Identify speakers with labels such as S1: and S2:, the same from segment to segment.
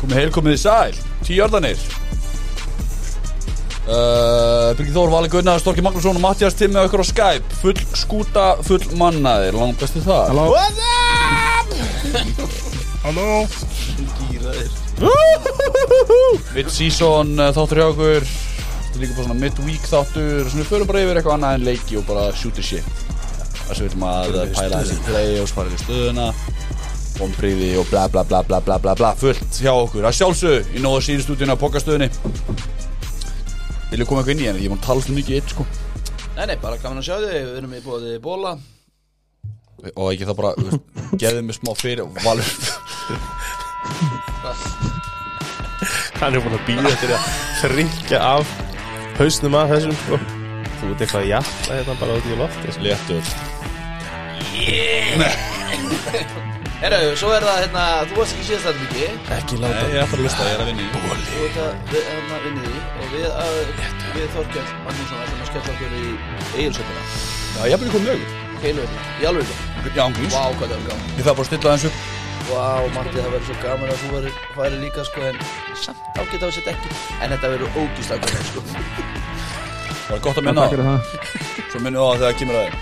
S1: komið heil, komið í sæl, tíjardanir uh, Birgir Þór, Vali Gunnar, Storki Magnússon og Mattias Timmi og ykkur á Skype Full skúta, full mannaðir, langt bestu það
S2: Halló.
S1: What's up?
S2: Halló
S1: Mid-season uh, þáttur hjá okkur Þetta er líka bara svona mid-week þáttur Svona við förum bara yfir eitthvað annað en leiki og bara shoot the shit Það sem við viljum að uh, pæla þessi play og spara í stöðuna Vonbríði og bla bla bla bla bla bla bla Fullt hjá okkur að sjálfsögðu í nóða sínstúdíuna á pokastöðunni Vilju koma eitthvað inn í henni? Ég má tala svo mikið eitt sko
S3: Nei, nei, bara gaman að sjá þig, við erum í bóði bóla
S1: Og ekki það bara, þú veist, gefðu mig smá fyrir og valur
S2: Hann er búin að býða til að þryggja af hausnum að þessum sko Þú ert eitthvað jafn að hérna bara út í lofti sko.
S1: Léttur
S3: Herru, svo er það, hérna, þú varst ekki síðast þetta mikið
S2: Ekki
S1: Ég er bara að lusta, ég er að vinna í
S3: Þú ert að, við, hérna, vinnið því Og við, að, við Þorkell Magnússon ætlum að skella okkur í eigilsöpuna
S1: Já, ég er bara komið mjög
S3: Heilu þetta, í alveg
S1: Já, ángríns
S3: Vá, hvað það er
S1: Ég
S3: gaman
S1: þarf bara að stilla þessu
S3: Vá, Matti, það verður svo gaman að þú verður færi líka, sko En samt ágætt á þessi dekki En þetta verður ógist ágætt, sko
S1: Það er gott að minna á
S4: Takk fyrir það
S1: Svo minnum það þegar kemur að þér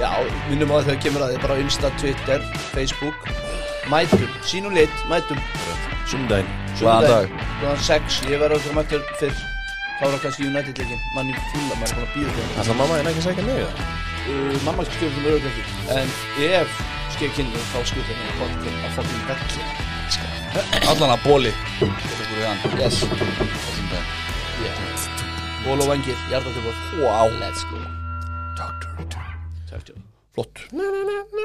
S3: Já, minnum á að þegar kemur að þið bara á Insta, Twitter, Facebook Mætum, sínum lit, mætum
S2: Sundaginn
S1: Hvaðan dag?
S3: Góðan 6, ég verður okkur mættur fyrr Þá var það kannski United leikin, mann í fúla, maður er búin að hérna. býða þeim
S2: Alltaf mamma er ekki að segja mig það
S3: uh, Mamma skilur þeim auðvitað ekki En ef skilur kynni þá skilur þeim að fólk þeim að fólk þeim velli
S1: Allan að bóli Þetta er hann
S3: Yes,
S1: Þessum dag
S3: yeah Ból og vengir, hjarta til bóð
S1: Wow.
S3: Let's go
S1: Doctor
S3: Takk til
S1: Flott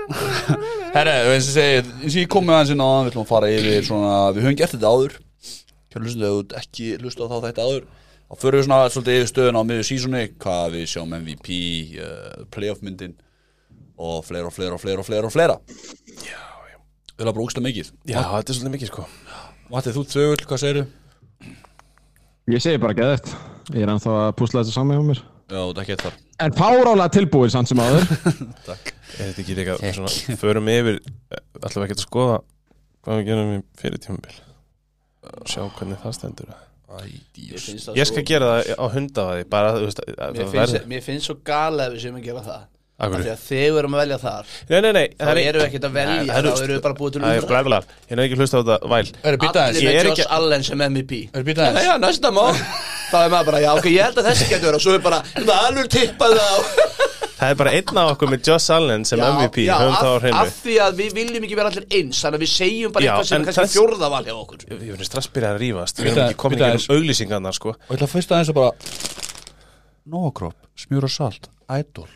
S1: Herre, eins og segi eins og ég kom með hans inn á hann Við ætlum að fara yfir svona Við höfum gert þetta áður Kjörn lustum þegar þú ert ekki lustu á þá þetta áður Þá förum við svona svolítið yfir stöðun á miður sísunni Hvað við sjáum MVP uh, Playoff myndin Og fleira og fleira og fleira og fleira og fleira Já, já Við erum bara úkslega mikið
S2: Já, þetta er svolítið mikið sko
S1: Vatið þú þögull, hvað segirðu?
S4: Ég segi bara geðert Ég er ennþá að púsla þessu saman hjá mér
S1: Já, þetta er ekki þar
S4: En fárálega tilbúin samt sem áður
S2: Er þetta ekki líka svona Förum yfir eh, Alltaf ekki að skoða Hvað við gerum í fyrir tímabil Sjá hvernig það stendur
S3: Mér
S1: Ædís
S3: finnst það
S2: Ég
S3: svo-
S2: skal gera það á hundafaði Bara, þú veist að- að
S3: Mér
S2: það
S3: finnst,
S2: verður-
S3: mér finnst svo gala ef við séum að gera það
S2: Af hverju?
S3: Þegar þegar við erum að velja þar
S2: Nei, nei, nei
S3: Þá erum við ekkert að velja,
S2: það eru-
S3: þá erum við bara búið til
S2: Það er
S3: umræðu.
S2: blæðilega Ég hef ekki hlusta á þetta væl
S1: Er
S3: Allir
S2: Ég
S3: með
S2: er
S3: Josh
S2: ekki-
S3: Allen sem MVP
S1: Er býta
S3: Já,
S1: aðeins?
S3: já, næsta mál Þá er maður bara, já, ok, ég held að þessi getur verið og Svo er bara, valur tippað á
S2: Það er bara einn af okkur með Joss Allen sem
S3: Já,
S2: MVP
S3: já,
S2: Höfum það á
S3: af-
S2: hreinu
S3: Af því að við viljum ekki vera allir eins Þannig að við segjum bara
S2: Já,
S3: eitthvað sem
S2: en
S3: er kannski
S2: þess-
S3: fjórða val hjá okkur
S2: Ég finnst strax byrjað að rífast Við
S1: Bíddu
S2: erum
S1: aðeins,
S2: ekki komin
S1: bíddu
S2: ekki
S1: aðeins.
S2: um auglýsingarnar sko
S1: Og ég ætla fyrst aðeins að bara Nóakropp, smjur og salt, idol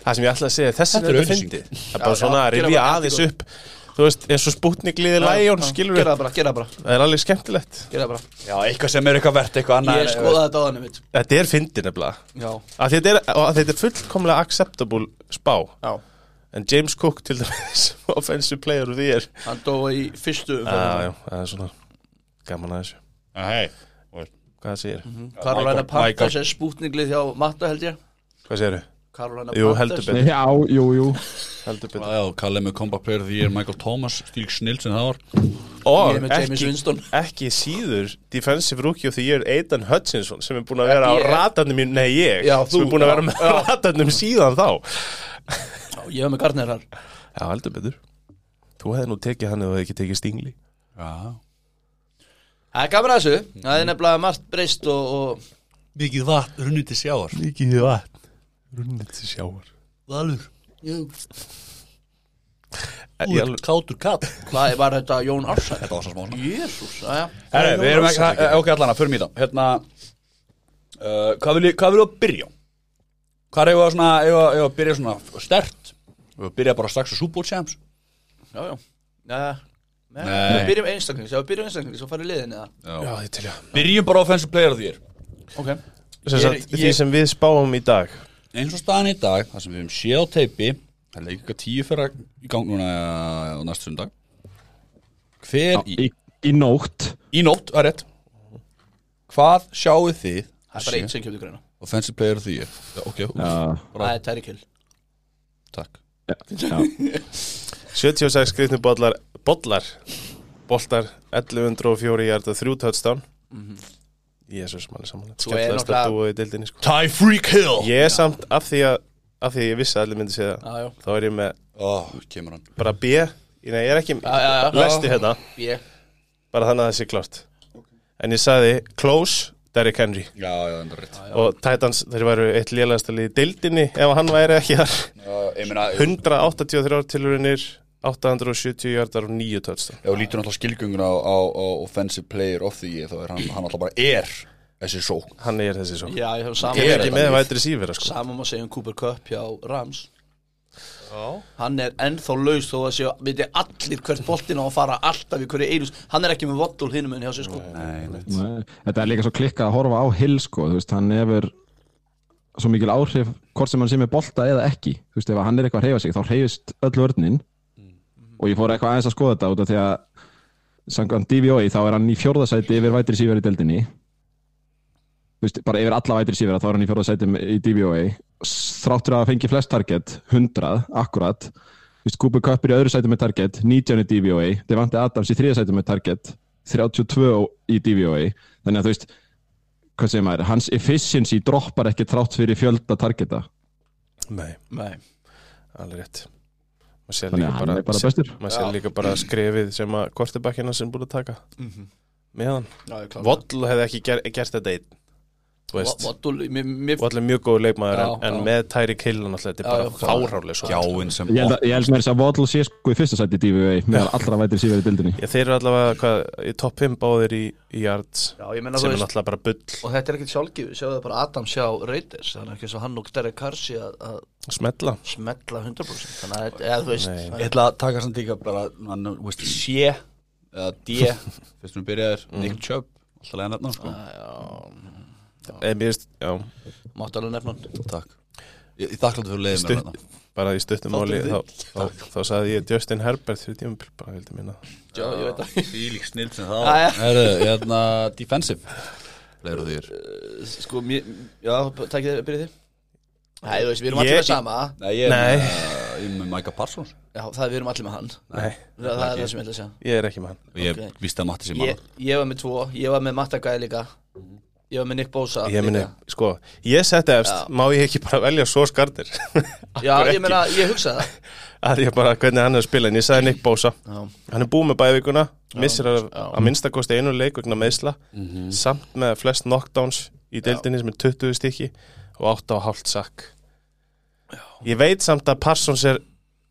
S2: Það sem ég ætla að segja Þessi
S1: Þetta er
S2: er þetta
S1: auglýsing.
S2: fyndi Það er bara
S3: Já,
S2: svona
S3: já,
S2: að rifja
S3: gera bara allt í
S2: aðeins upp Þú veist, eins og spútnik liði Lion Skilur
S3: Gera
S2: við
S3: það bara, gera það bara,
S2: Það er alveg skemmtilegt
S3: gera það bara
S1: Já, eitthvað sem er eitthvað verðt, eitthvað annað
S3: Ég skoða þetta á þannig mitt
S2: Þetta er fyndi nefnilega
S3: Já,
S2: Af því Þetta er, og af því þetta er fullkomlega acceptable spá
S3: já
S2: En James Cook til dæmis Offensive player of the year
S3: Hann dói í fyrstu
S2: Já, já, Það er svona gaman að þessu
S1: Hei,
S2: Hvað segir?
S3: Karolina
S1: Michael-
S3: Panthers er spútninglið hjá Matta held ég
S2: Hvað segir þau?
S3: Karolina
S2: Jú, heldur
S3: Panthers
S2: betur
S4: Já, jú, jú
S2: Heldur betur
S1: Já, kallið með Combat Player því er Michael Thomas, stíl snill sem það var
S2: Og
S3: Ég er með James
S2: ekki,
S3: Winston
S2: ekki síður Defensive Rookie of the Year Aidan Hutchinson sem er búin að vera á
S3: Ég.
S2: ratarnum mín, nei ég,
S3: Já,
S2: sem
S3: þú,
S2: er búin að
S3: já,
S2: vera með ratarnum síðan þá
S3: Já, Ég hef með Garner þar
S2: Já, heldur betur Þú hefði nú tekið hann eða þú hefði ekki tekið Stingli
S1: Já
S3: Það er gaman að þessu Það er nefnilega margt breyst og, og
S1: Mikið vatn, runnið til sjáar
S2: Mikið þið vatn Runnið til sjáar
S1: Valur,
S2: Ég alveg
S1: kátur katt
S3: Hvað var þetta Jón Ársæk?
S1: Þetta var svo smá svona.
S3: Jésús, aðja
S1: Herri, við erum ekki, eh, ok, allan að förum í það Hérna, uh, hvað vil ég, hvað vil ég að byrja? á? Hvað er ég að svona, ef að- ef að byrja svona stert? Við byrja bara strax á Super Bowl Champs
S3: Já, já Nei, nei,
S1: Nei.
S3: Við byrjum einstaklings, já við byrjum einstaklings og farið liðin eða
S2: Já, ég til já
S1: Byrjum bara á Offensive Player of the Year
S3: Ok
S2: Sem sagt,
S1: Ég-
S2: Því
S1: ég-
S2: sem við spáum í dag
S1: eins og staðan í dag, það sem við höfum séð á teipi það er leik eitthvað tíu fyrra í gang núna eh, á næstu sundag hver í,
S4: Í, í nótt
S1: í nótt, það er rétt hvað sjáu þið
S3: Það er bara einn sem kemur til greina
S1: offensive player því er Já, ok, úf,
S4: Já,
S3: Það er Terry Kill
S1: takk
S4: já, já.
S2: 76 skrifni bollar Bollar boltar 1104 hjarta, þrjú touchdown Jésus, maður samanlega
S3: Mhm. Svo er
S2: Skemmtilegast
S3: náttúrulega-
S2: að dúa í deildinni sko.
S1: Ty Freak Hill
S2: Ég er samt, af því að af því að ég vissi að allir myndi segja það
S3: já, já,
S2: þá er ég með
S1: Ó, kemur hann
S2: bara B Nei, ég er ekki,
S3: já, já.
S2: lesti hérna
S3: ég
S2: bara þannig að það sé klárt En ég sagði Close, Derrick Henry
S1: Já, já, það er rétt
S2: og Titans, þeir væru eitt lélægasta lið í deildinni ef hann væri ekki þar
S1: Já, Ég meina, ef
S2: 183 tilurinnir 870 hjartar og 9 touchdown
S1: þú lítur náttúrulega skilgönguna á, á, á offensive player of the year þá er hann, hann alltaf bara er þessi sók
S2: Hann er þessi svo
S3: já, ég hef
S2: Ég er
S3: saman
S2: ekki með vætri sífira sko
S3: saman má segja um Cooper Cup hjá Rams hann er ennþá laus þó að séu veitir allir hvert boltinn á að fara alltaf í hverju einus hann er ekki með vottól hinum en hjá sér sko
S1: Nei,
S4: Nei, Þetta er líka svo klikka að horfa á Hill sko, þú veist, hann hefur svo mikil áhrif hvort sem hann sé með bolta eða ekki, þú veist, ef hann er eitthvað að hreyfa sig þá hreyfist öll vörninn og ég fór eitthvað aðeins að skoða þetta út af því að samkvæmt DVOi þá er hann í fjórðasæti yfir vætri sífjör í deldinni þú veist, bara yfir alla vætri sífjör þá er hann í fjórðasæti í DVOi þráttur að það fengi flest target 100, akkurat þú veist, Cooper Cup er í öðru sæti með target 19 í DVOi, Devante Adams í þriða sæti með target 32 í DVOi þannig að þú veist hvað segir maður, hans efficiency droppar ekki þrátt fyrir fjölda targeta
S2: Nei,
S3: Nei.
S2: alveg rétt Maður sér
S4: þannig
S2: líka
S4: að hann er bara
S2: bara,
S4: bestur
S2: maður sér líka bara skrefið sem að kortibakkina sem búin að taka meðan
S3: Já, ég klára
S2: Waddle hefði ekki ger, gert þetta einn Þú
S3: það.
S2: veist,
S3: Vo- Waddle, mér- mér-
S2: Waddle er mjög góð leikmaður en,
S3: Já,
S2: en
S3: já.
S2: með Tyreek Hill náttúrulega, þetta er
S3: Já,
S2: bara
S3: já.
S2: fárhálega svo
S1: Gjáinn sem
S4: ég held, að- ég held mér þess að Waddle sé sko í fyrsta sæti í DVOi meðan allra vætir sífjör í dildinni
S2: Já, þeir eru allavega hvað, í topp 5 báðir í, í yards
S3: Já, ég
S2: sem
S3: meina, þú
S2: er
S3: veist,
S2: náttúrulega bara bull
S3: og þetta er ekkert sjálfgjöf sjáðu það bara Adam sjá Raiders þannig ekki svo hann og Derek Carsi að, að
S2: smetla
S3: smetla 100% þannig að, eða þú veist
S2: Nei.
S1: Ég ætla að taka samt líka bara, hann, þú veist, sé eða D, fyrst við byrjaðir Nick Chubb, alltaf leiðan þarna, sko
S3: já,
S2: eða Eh, mér veist, já,
S3: máttu alveg nefna hann.
S1: Takk Ég, ég þakkláttu fyrir leiðin mér
S2: stutt,
S1: þarna
S2: bara í stuttum máli
S1: Þáttum
S2: þá, þá, þá, sagði ég Justin Herbert fyrir tímabil, bara vildi minna
S3: já, ég veit að
S1: Fílík snild sem
S3: Já,
S1: það
S3: já.
S1: Herru, hérna, defensive Leir og þýr
S3: sko, mér, já, takk þér, byrja þig Nei, þú veist, við
S2: Ég-
S3: erum allir með sama
S1: Nei, ég er
S2: Nei.
S1: með, uh, ég er með Micah Parsons
S3: Já, það er við erum allir með hann
S2: Nei,
S3: Það, það er það sem ég ætla að segja
S2: ég er ekki með hann
S1: Ég
S3: Ok.
S1: víst að Matti sem
S3: ég,
S1: mann
S3: ég var með tvo, ég var með Matta Gæði líka Ég var með Nick Bosa
S2: Ég meni,
S3: líka.
S2: sko, ég setti efst,
S3: Já.
S2: má ég ekki bara velja svo skartir
S3: Já,
S2: Akkur
S3: ég
S2: ekki.
S3: meina, ég hugsaði það
S2: að ég bara, hvernig hann er að spila en ég sagði Nick Bosa,
S3: Já,
S2: hann er búið með bævikuna missir að,
S3: Já.
S2: að minnstakosti einu leik vegna meðsla,
S1: Mhm.
S2: samt með flest knockdowns í deildinni sem er 20 stykki og 8 og hálft sakk ég veit samt að Parsons er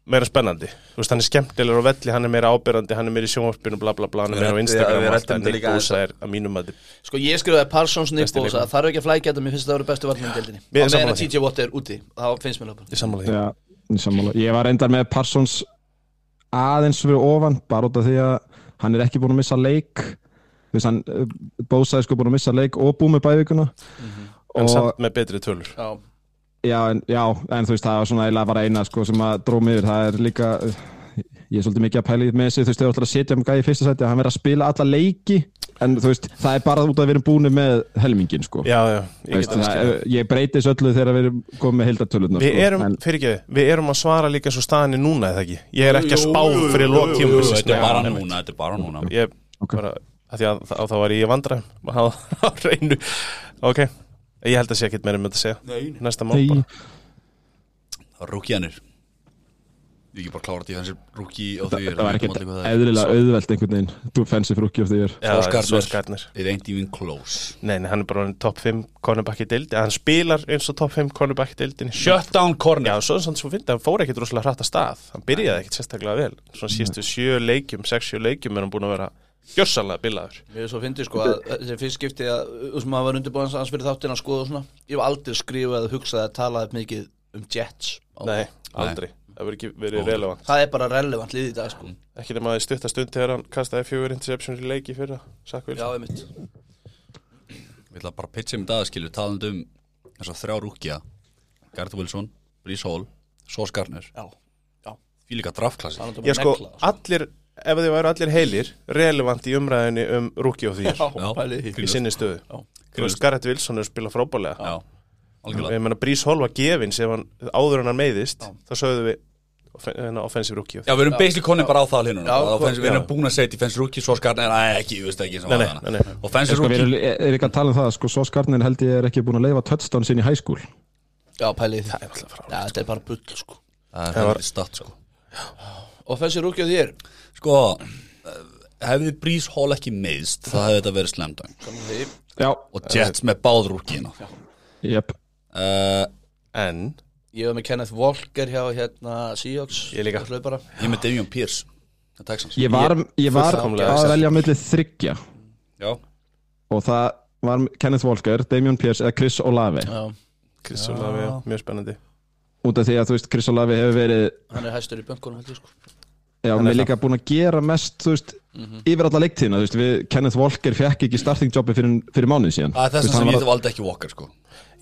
S2: meira spennandi, þú veist hann er skemmtilegur á velli, hann er meira ábyrrandi, hann er meira í sjónvarpinu bla bla bla, hann er
S1: Við
S2: meira á
S1: ræddum- já,
S2: Instagram
S1: við
S2: og allt
S1: ræddum
S2: það, en
S1: þetta
S2: Nick
S1: líka
S2: Bosa er að mínum að
S3: Sko ég skrifaði Parsons Nick
S2: Besti
S3: Bosa
S2: leikmaður.
S3: Þarf ekki að flækja þetta, mér finnst það að vera bestu varnarinn í deildinni
S2: Við erum
S3: Á meðan
S2: sammála
S3: að
S2: því.
S3: TJ Watt er úti, þá finnst mér löpun
S2: ég sammála því,
S4: Já, í sammála. ég var endar með Parsons aðeins fyrir ofan bara út af því að hann er ekki búin að missa leik þú veist, hann bósaði sko búin að missa leik og búið með bævikuna
S2: en
S4: og
S2: samt með betri tölur
S3: Já,
S4: Já, en, já, en þú veist, það var svona eiginlega bara eina sko, sem að drómi yfir, það er líka ég er svolítið mikið að pæla í með þessi þú veist, þau ætlar að setja um gæði í fyrsta sæti að hann verið að spila alla leiki, en þú veist, það er bara út af að við erum búinu með helmingin sko.
S2: já, já,
S4: Þú
S2: ég get
S4: veist,
S2: að
S4: það, ég breytis öllu þegar við erum komið með hildartölutna
S2: Við erum,
S4: Sko, en,
S2: fyrir ekki, við erum að svara líka svo staðinni núna eða ekki Ég er ekki að spá fyrir lók
S1: Jú,
S2: tíma
S1: Þetta er bara núna, þetta er bara núna
S2: Ég bara, að því að þá, þá var ég í vandra á á reynu Ok, ég held að sé ekkert meira um þetta að segja
S3: Nei, nei.
S2: Næsta mál bara
S4: nei,
S1: Rúkiðanir Ég ekki bara klára defensive rúki og þýr
S4: það var ekkert eðlilega auðvelt einhvern veginn, þú fensi frúki af því ég er
S2: Já,
S1: Sauce Gardner.
S2: Sauce Gardner.
S1: It ain't even close
S2: Nei, nei, hann er bara orðinn top 5 cornerback í deildi Hann spilar eins og top 5 cornerback í deildinni
S1: Shutdown
S2: Já,
S1: corner
S2: svo er svona svo fyndi, hann fór ekkit rosalega hratt að stað Hann byrjaði ekkit sérstaklega vel Svona sístu sjö leikjum, sex sjö leikjum er hann búin að vera gjössalega bilaður
S3: Mér er svo fyndið sko að þessi fyrst skipti að þú sem maður var undirbúðans aðeins fyrir þáttinn að skoða og svona Ég hef aldrei skrifað eða hugsað að tala mikið um Jets
S2: Nei, aldrei, það verður ekki verið relevant
S3: Það er bara relevant lið í dag sko
S2: ekki nema að stutta stund þegar hann kastaði fjögur interception í leiki fyrra Sack
S3: Já,
S2: Wilson
S3: einmitt
S1: Við ætla bara að pitcha um dag skilju talandi um þess að þrjá rúkja Garth Wilson, Brees Hall, Sauce Garner
S3: Já, já
S1: Því líka draftklassi
S3: Það er
S2: ég sko,
S3: negla,
S2: allir, ef þið væru allir heilir relevant í umræðinni um rúki og þýr
S3: Já, pælið í því.
S2: í sinni stöðu
S3: Já.
S2: Þú veist, Garrett Wilson er að spila frábælega
S1: Já, algjörlega
S2: ég menna Brís Holva gefins ef hann áður en hann meiðist þá sögðu við hérna, offensive rookie
S1: Já, við erum basically konið bara á það hlýnum
S3: Já,
S1: Við erum
S2: já.
S1: búin að segja defense rookie Svo skarnar, næ, ekki, við veist ekki sem
S2: Nei,
S1: var
S2: nei,
S1: þarna.
S2: nei, nei.
S1: Offensive
S4: Sko, við
S1: rookie
S4: erum er ekki að tala um það, sko, svo skarnir held ég er ekki búin að leifa touchdown sinni í high school
S3: Já, pælið því.
S2: Það er alltaf frá
S3: Já, þetta er bara bull, sko.
S1: Það er
S2: Það var-
S1: heldur statt, sko
S3: Og þessi rúkja þér,
S1: Sko, eh, hefði Brís Hall ekki meðst Það hefði þetta verið slemdang
S3: saman því.
S4: Já,
S1: Og Jets með báð rúkina
S4: jöp
S1: uh,
S2: En
S3: Ég var með Kenneth Walker hjá hérna Seahawks.
S2: Ég líka.
S3: Hlaupara.
S1: Ég með Devion Pierce með Texans.
S4: Ég var, ég var
S2: Fullkomlega
S4: að
S2: sætt.
S4: velja á milli þryggja
S1: Já,
S4: og það var Kenneth Walker, Damian Pierce eða Chris Olave
S3: Já,
S2: Kristján Lavi, mjög spennandi
S4: út af því að þú veist, Chris Olave hefur verið
S3: hann er hæstur í bönkunum, held ég, sko.
S4: já, mér líka búin að gera mest þú veist, yfir alla leiktíðina þú veist, við, Kenneth Walker fekk ekki starting jobbi fyrir, fyrir mánuð síðan
S1: það er
S4: Þú
S1: þess
S4: veist,
S1: að
S4: hann
S1: sem
S4: var
S1: ég valdi ekki Walker sko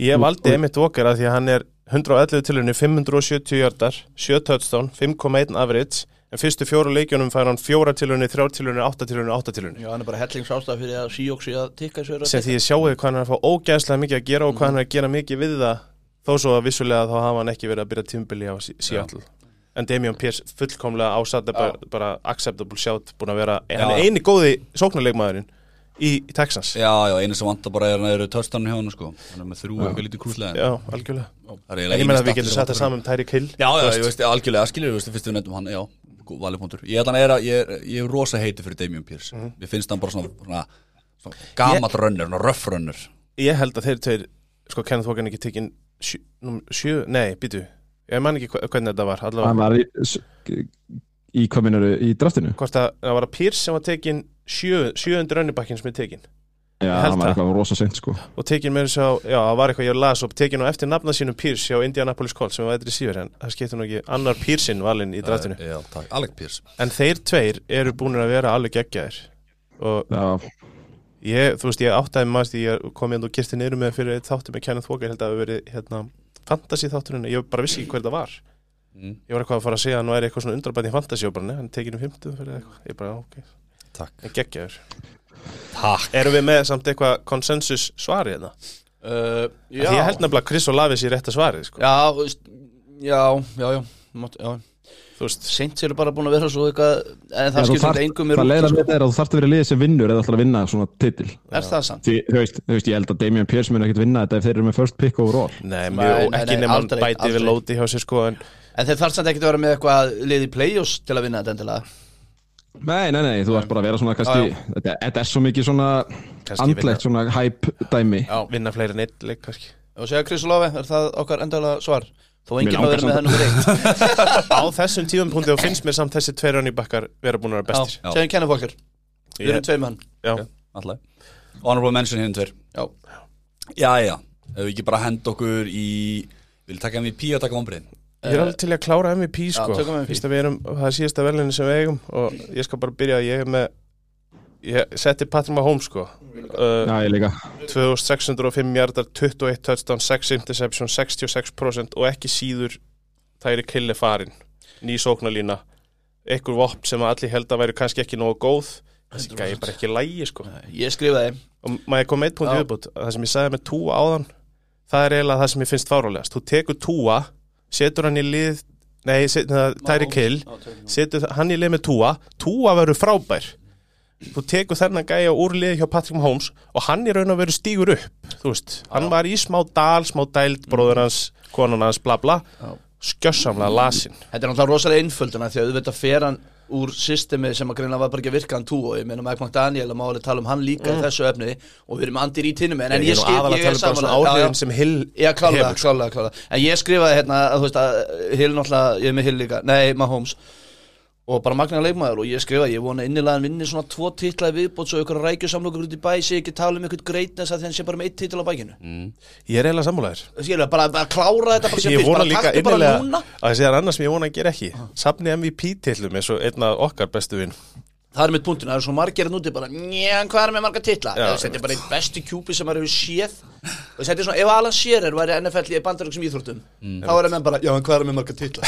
S2: Ég valdi Emmett Walker að því að hann er 111 tilurinn 570 hjartar 7 touchdown, 5,1 average en fyrstu fjóru leikjunum fær hann 4 tilurinn 3 tilurinn, 8 tilurinn, 8 tilurinn
S3: Já, hann er bara hellingsástað fyrir að Seahawks í að tikka þessu
S2: sem því ég sjáu hvað hann er að fá ógæðslega mikið að gera og hvað hann er að gera mikið við það þó svo að vissulega þá hafa hann ekki verið að byrja tímbili á Sí- Seattle en Damian Pierce fullkomlega ásatt er bara, bara acceptable shout búin að vera hann
S1: Já.
S2: er eini góði sóknarleikmaðurinn í Texas
S1: Já, já, einu sem vantar bara er hann eru törstanum hjá hann sko Hann er með þrjú eitthvað lítið krúslega
S2: Já, algjörlega
S1: Það er
S2: En
S1: eiginlega
S2: ég
S1: eini
S2: meina að við
S1: stattur
S2: getum
S1: sem
S2: sett
S1: vantar
S2: það saman um Tyreek Hill
S1: Já, já, ég veist, algjörlega, skilur, ég veist, fyrst við nefndum hann, já, gó- valið punktur. Ég ætla að er að, ég er, ég er rosa heiti fyrir Damien Pierce.
S2: Mhm.
S1: Mér finnst hann bara svona, svona, svona gamall rönnur, svona röff rönnur.
S2: Ég held að þeir tveir sko Kenneth Walker er ekki tekinn sjö, númer sjö, nei, býtu Ég man ekki hva- hvernig þetta var
S4: hann
S2: allavega
S4: var í, s- í kominuru í draftinu
S2: Hvort að það var að Pierce sem var tekinn sjö, sjöundur önnibakkin sem er tekinn
S4: já,
S2: held
S4: hann var
S2: það.
S4: eitthvað rosa seint sko
S2: og tekin með þess að, já, það var eitthvað ég las upp, tekin á eftir nafna sínum Pierce hjá Indianapolis Colts sem var eitthvað síður en það skiptir nú ekki annar Piercein valinn í draftinu
S1: Eh, Já, takk, Alec Pierce.
S2: en þeir tveir eru búin að vera alveg geggjaðir og
S4: já,
S2: ég, þú veist, ég áttaði maður því ég kom hérna og kirti niður með fyrir eitt þáttum með Kenneth Walker, ég held að það hafi verið hérna, fantasy þátturinn, ég bara vissi ekki hver það var
S1: Mm.
S2: ég var eitthvað að fara að segja að nú er eitthvað svona undrabætt í fantasy og bara, nefn, tekin um 50 fyrir eitthvað, ég bara, ok,
S1: Takk.
S2: en geggjaður
S1: Takk.
S2: erum við með samt eitthvað konsensus svari hérna?
S3: Uh,
S2: Af
S3: já.
S2: því ég held nefnilega að Chris Olavi sé rétt að svarið, sko,
S3: Já, þú veist, já, já, já. Mátt, já.
S2: þú veist
S3: Seint eru bara búin að vera svo eitthvað, en það
S4: Já, þú
S3: skiptir um
S4: þarft-
S3: þetta engum í
S4: það leiðar
S3: rúkja,
S4: með þetta er að þú þarft að vera liðið sem vinnur eða ætlar að vinna svona titil
S3: sko. Er það samt?
S4: því, þú veist, þú veist, ég held að Damian Pierce mun ekkert vinna þetta ef þeir eru með first pick overall
S2: Nei,
S3: Nei,
S2: mjög,
S3: nei,
S2: ekki
S3: nei,
S2: nema hann
S3: aldrei,
S2: bæti
S3: aldrei.
S2: við lóti hjá sér sko en
S3: En þeir þarf samt ekki að vera með eitthvað liði play-offs til að vinna þetta endilega.
S4: Nei, nei, nei, þú ert bara að vera svona kannski, þetta, þetta er svo mikið svona andlegt svona hæp dæmi
S2: vinna fleiri en eitt leik kannski
S3: Og segja Chris Love, er það okkar endalega svar? Þó
S4: Mér
S3: enginn hafa verið
S4: langar
S3: með
S4: samt
S3: þennan reynd.
S2: Á þessum tíðumpunkti og finnst mér samt þessi tveir rönni bakkar vera búin að vera bestir
S1: Já.
S3: Segjum Kenneth Walker, við erum
S2: Ég-
S3: tvei mann.
S2: Já,
S1: Alltaf. Honorable mention hinn tver.
S3: Já,
S1: Já, já, ef við ekki bara henda okkur í, vil taka MVP og taka vombriðin.
S2: Ég er alveg til í að klára MVP sko
S3: Eh, tökum MVP.
S2: Fyrst að við erum, það er síðasta velinu sem við eigum og ég skal bara byrja að ég er með ég setti Patrick Mahomes sko uh,
S4: Já, ég líka
S2: 2605 hjartar, 21 touchdown 6 interception, 66% og ekki síður það eru killi farin ný sóknarlína einhver vopn sem allir held að væri kannski ekki nógu góð þessi gæði bara ekki lægi sko
S3: Eh, ég skrifaði.
S2: og maður kom með eitt punkt í
S3: Já.
S2: viðbútt það sem ég sagði með túa áðan það er eiginlega það sem ég finnst fárálegast þú tekur túa, setur hann í lið nei, set- það- Tyreek Hill setur þa- hann í lið með túa túa verður frábær þú tekur þennan gæja úr lið hjá Patrick Mahomes og hann í raun og veru stígur upp þú veist, hann var í smá dal smá dæld, bróður hans, konan hans bla bla,
S3: Já.
S2: skjössamlega lasin
S3: Þetta er náttúrulega rosalega einfölduna því að auðvitað fer hann úr systemi sem að greina var bara ekki að virka hann tú og ég meina Mike McDaniel að máli tala um hann líka í þessu efni og við erum andir í tinum en, en
S2: Mm. er
S3: ég,
S2: nú
S3: skil-
S2: aðalega
S3: ég
S2: að tala
S3: er
S2: um bara svona
S3: samanlega- Já, já.
S2: áhrifin sem Hill
S3: Já, klálega,
S2: hefur, sko.
S3: klálega, klálega En ég skrifaði hérna, að, þú veist að Hill náttúrulega, ég er með Hill líka, nei, Mahomes Og bara magnaða leikmaður og ég skrifaði, ég vona innilega hann vinni svona tvo titla í viðbót Svo ykkur rækjusamlokur út í bæ, sé ekki tala um ykkur greitnes að þeim sé bara með eitt titla á bækinu
S2: Mm. ég er eiginlega sammálaður
S3: Skilja, bara, bara klára þetta bara sem
S2: ég
S3: fyrst,
S2: vona
S3: bara
S2: líka
S3: taktu bara núna Ah.
S2: innilega að það sé það annars sem ég vona að gera ekki safni MVP-tillum eins og einna okkar bestu vinn
S3: Það er mitt punktin, það eru svo margir að núti bara Nján, hvað er með marga titla?
S2: Já.
S3: Þetta er bara einn besti kjúpi sem maður hefur séð Og þetta er svona, ef Alan Shearer væri NFL í bandaröksum íþróttum
S1: Mm.
S3: Þá er menn bara, já, en hvað er með marga titla?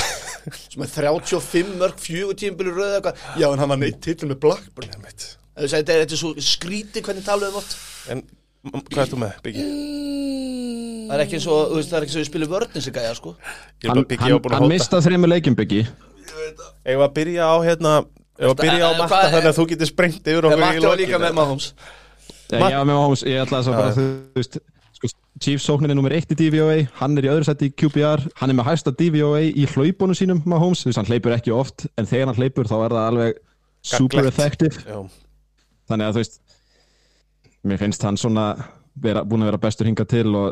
S3: Sem er 35 mörg, fjögur tímbili röð eða eitthvað Já, en hann var neitt titla með Blackburn Þú veist, Þetta er, þetta er svo skríti hvernig talaðum átt
S2: en m- hvað ert þú með, Biggi?
S3: Það er ekki eins og, þú veist, það er ekki eins og við spilum vörðin sem gæja, sko
S2: Ég er
S4: Hann,
S2: bara Biggi
S4: hann,
S2: ábúin að
S4: hann
S2: hóta
S4: mistað þremur leikjum byggi
S2: Ég var að byrja á hérna Ég var að byrja á
S3: Eh,
S2: matta
S3: hvað-
S2: þannig að þú getur sprengt yfir
S3: En
S2: okkur
S3: Matti var líka með Mahomes
S4: Ég var með Mahomes, ég ætla þess að bara, þú veist, sko, Chiefs sóknin er nummer 1 í DVOA, hann er í öðru seti í QBR, hann er með hæsta DVOA í hlaupónu sínum, Mahomes, þú veist, hann hleypur ekki oft, en þegar hann hleypur þá er það alveg super
S2: Gagnlegt.
S4: effective,
S2: Já,
S4: þannig að þú veist, mér finnst hann svona vera, búin að vera bestur hingað til og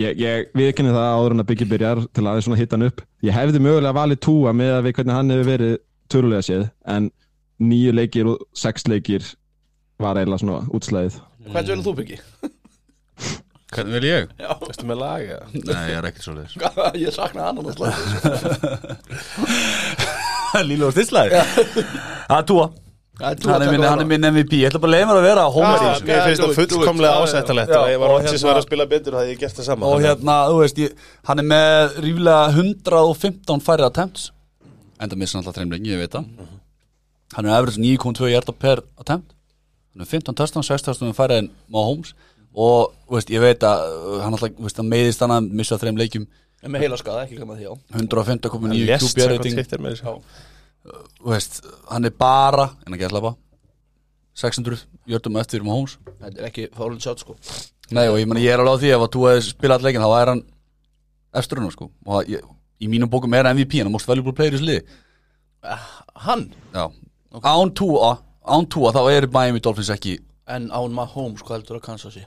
S4: ég, ég viðkynni það áður en að byggja byrjar til aðeins svona hitta hann upp. Ég hefði mögulega valið túa með að við hvernig hann hefur verið törulega séð, en nýju leikir og sex leikir var eiginlega svona útslæðið.
S1: Mm.
S3: Hvernig velur þú byggi?
S1: Hvernig vil ég?
S2: veistu með laga
S1: Nei, ég er ekkert svo leiðis
S3: Ég sakna annan að slæða
S1: Líla og stilslæði Það er túa Hann er minn, hann er minn MVP Ég ætla bara að leiða mér að vera
S2: Ah,
S1: Homer í
S3: Ah, Já,
S1: þessu
S2: Mér finnst
S3: do
S2: það
S3: it, do it.
S2: fullkomlega
S3: Já, já, já.
S2: ásættalegt
S1: Já,
S2: og
S1: og
S2: ef var Rodgers
S1: hérna-
S2: var að spila betur þá hefði ég gert það sama
S1: Og
S2: Þannig að-
S1: hérna, þú veist, ég, hann er með ríflega 115 færið attempts Enda missa hann alltaf treimlengi, ég veit það
S2: Mhm.
S1: Hann er efrið 9.2 hjarta um per attempt Hann er 15 testan, 6 testan færið en Mahomes Og, þú veist, ég veit að uh, hann alltaf, þú veist, hann meiðist hann að missa þreim leikjum
S3: Með heila skada, ekki glemma því á hérna-
S1: 150.9 QBR
S2: Lést samkvæmt
S1: rating.
S2: Twitter með þessu.
S1: Þú veist, hann er bara, en ekki alltaf 600 hjartum eftir Mahomes
S3: Þetta er ekki fórlund sjátt sko
S1: Nei og ég, meni, ég er alveg á því ef að þú hefði spilað leikin þá er hann eftir hann sko og að ég, í mínum bókum er hann MVP en hann most valuable player í þessu liði
S3: Hann,
S1: Já Án túa án túa þá er Miami Dolphins ekki
S3: en án Mahomes, hvað heldur að kansa sig?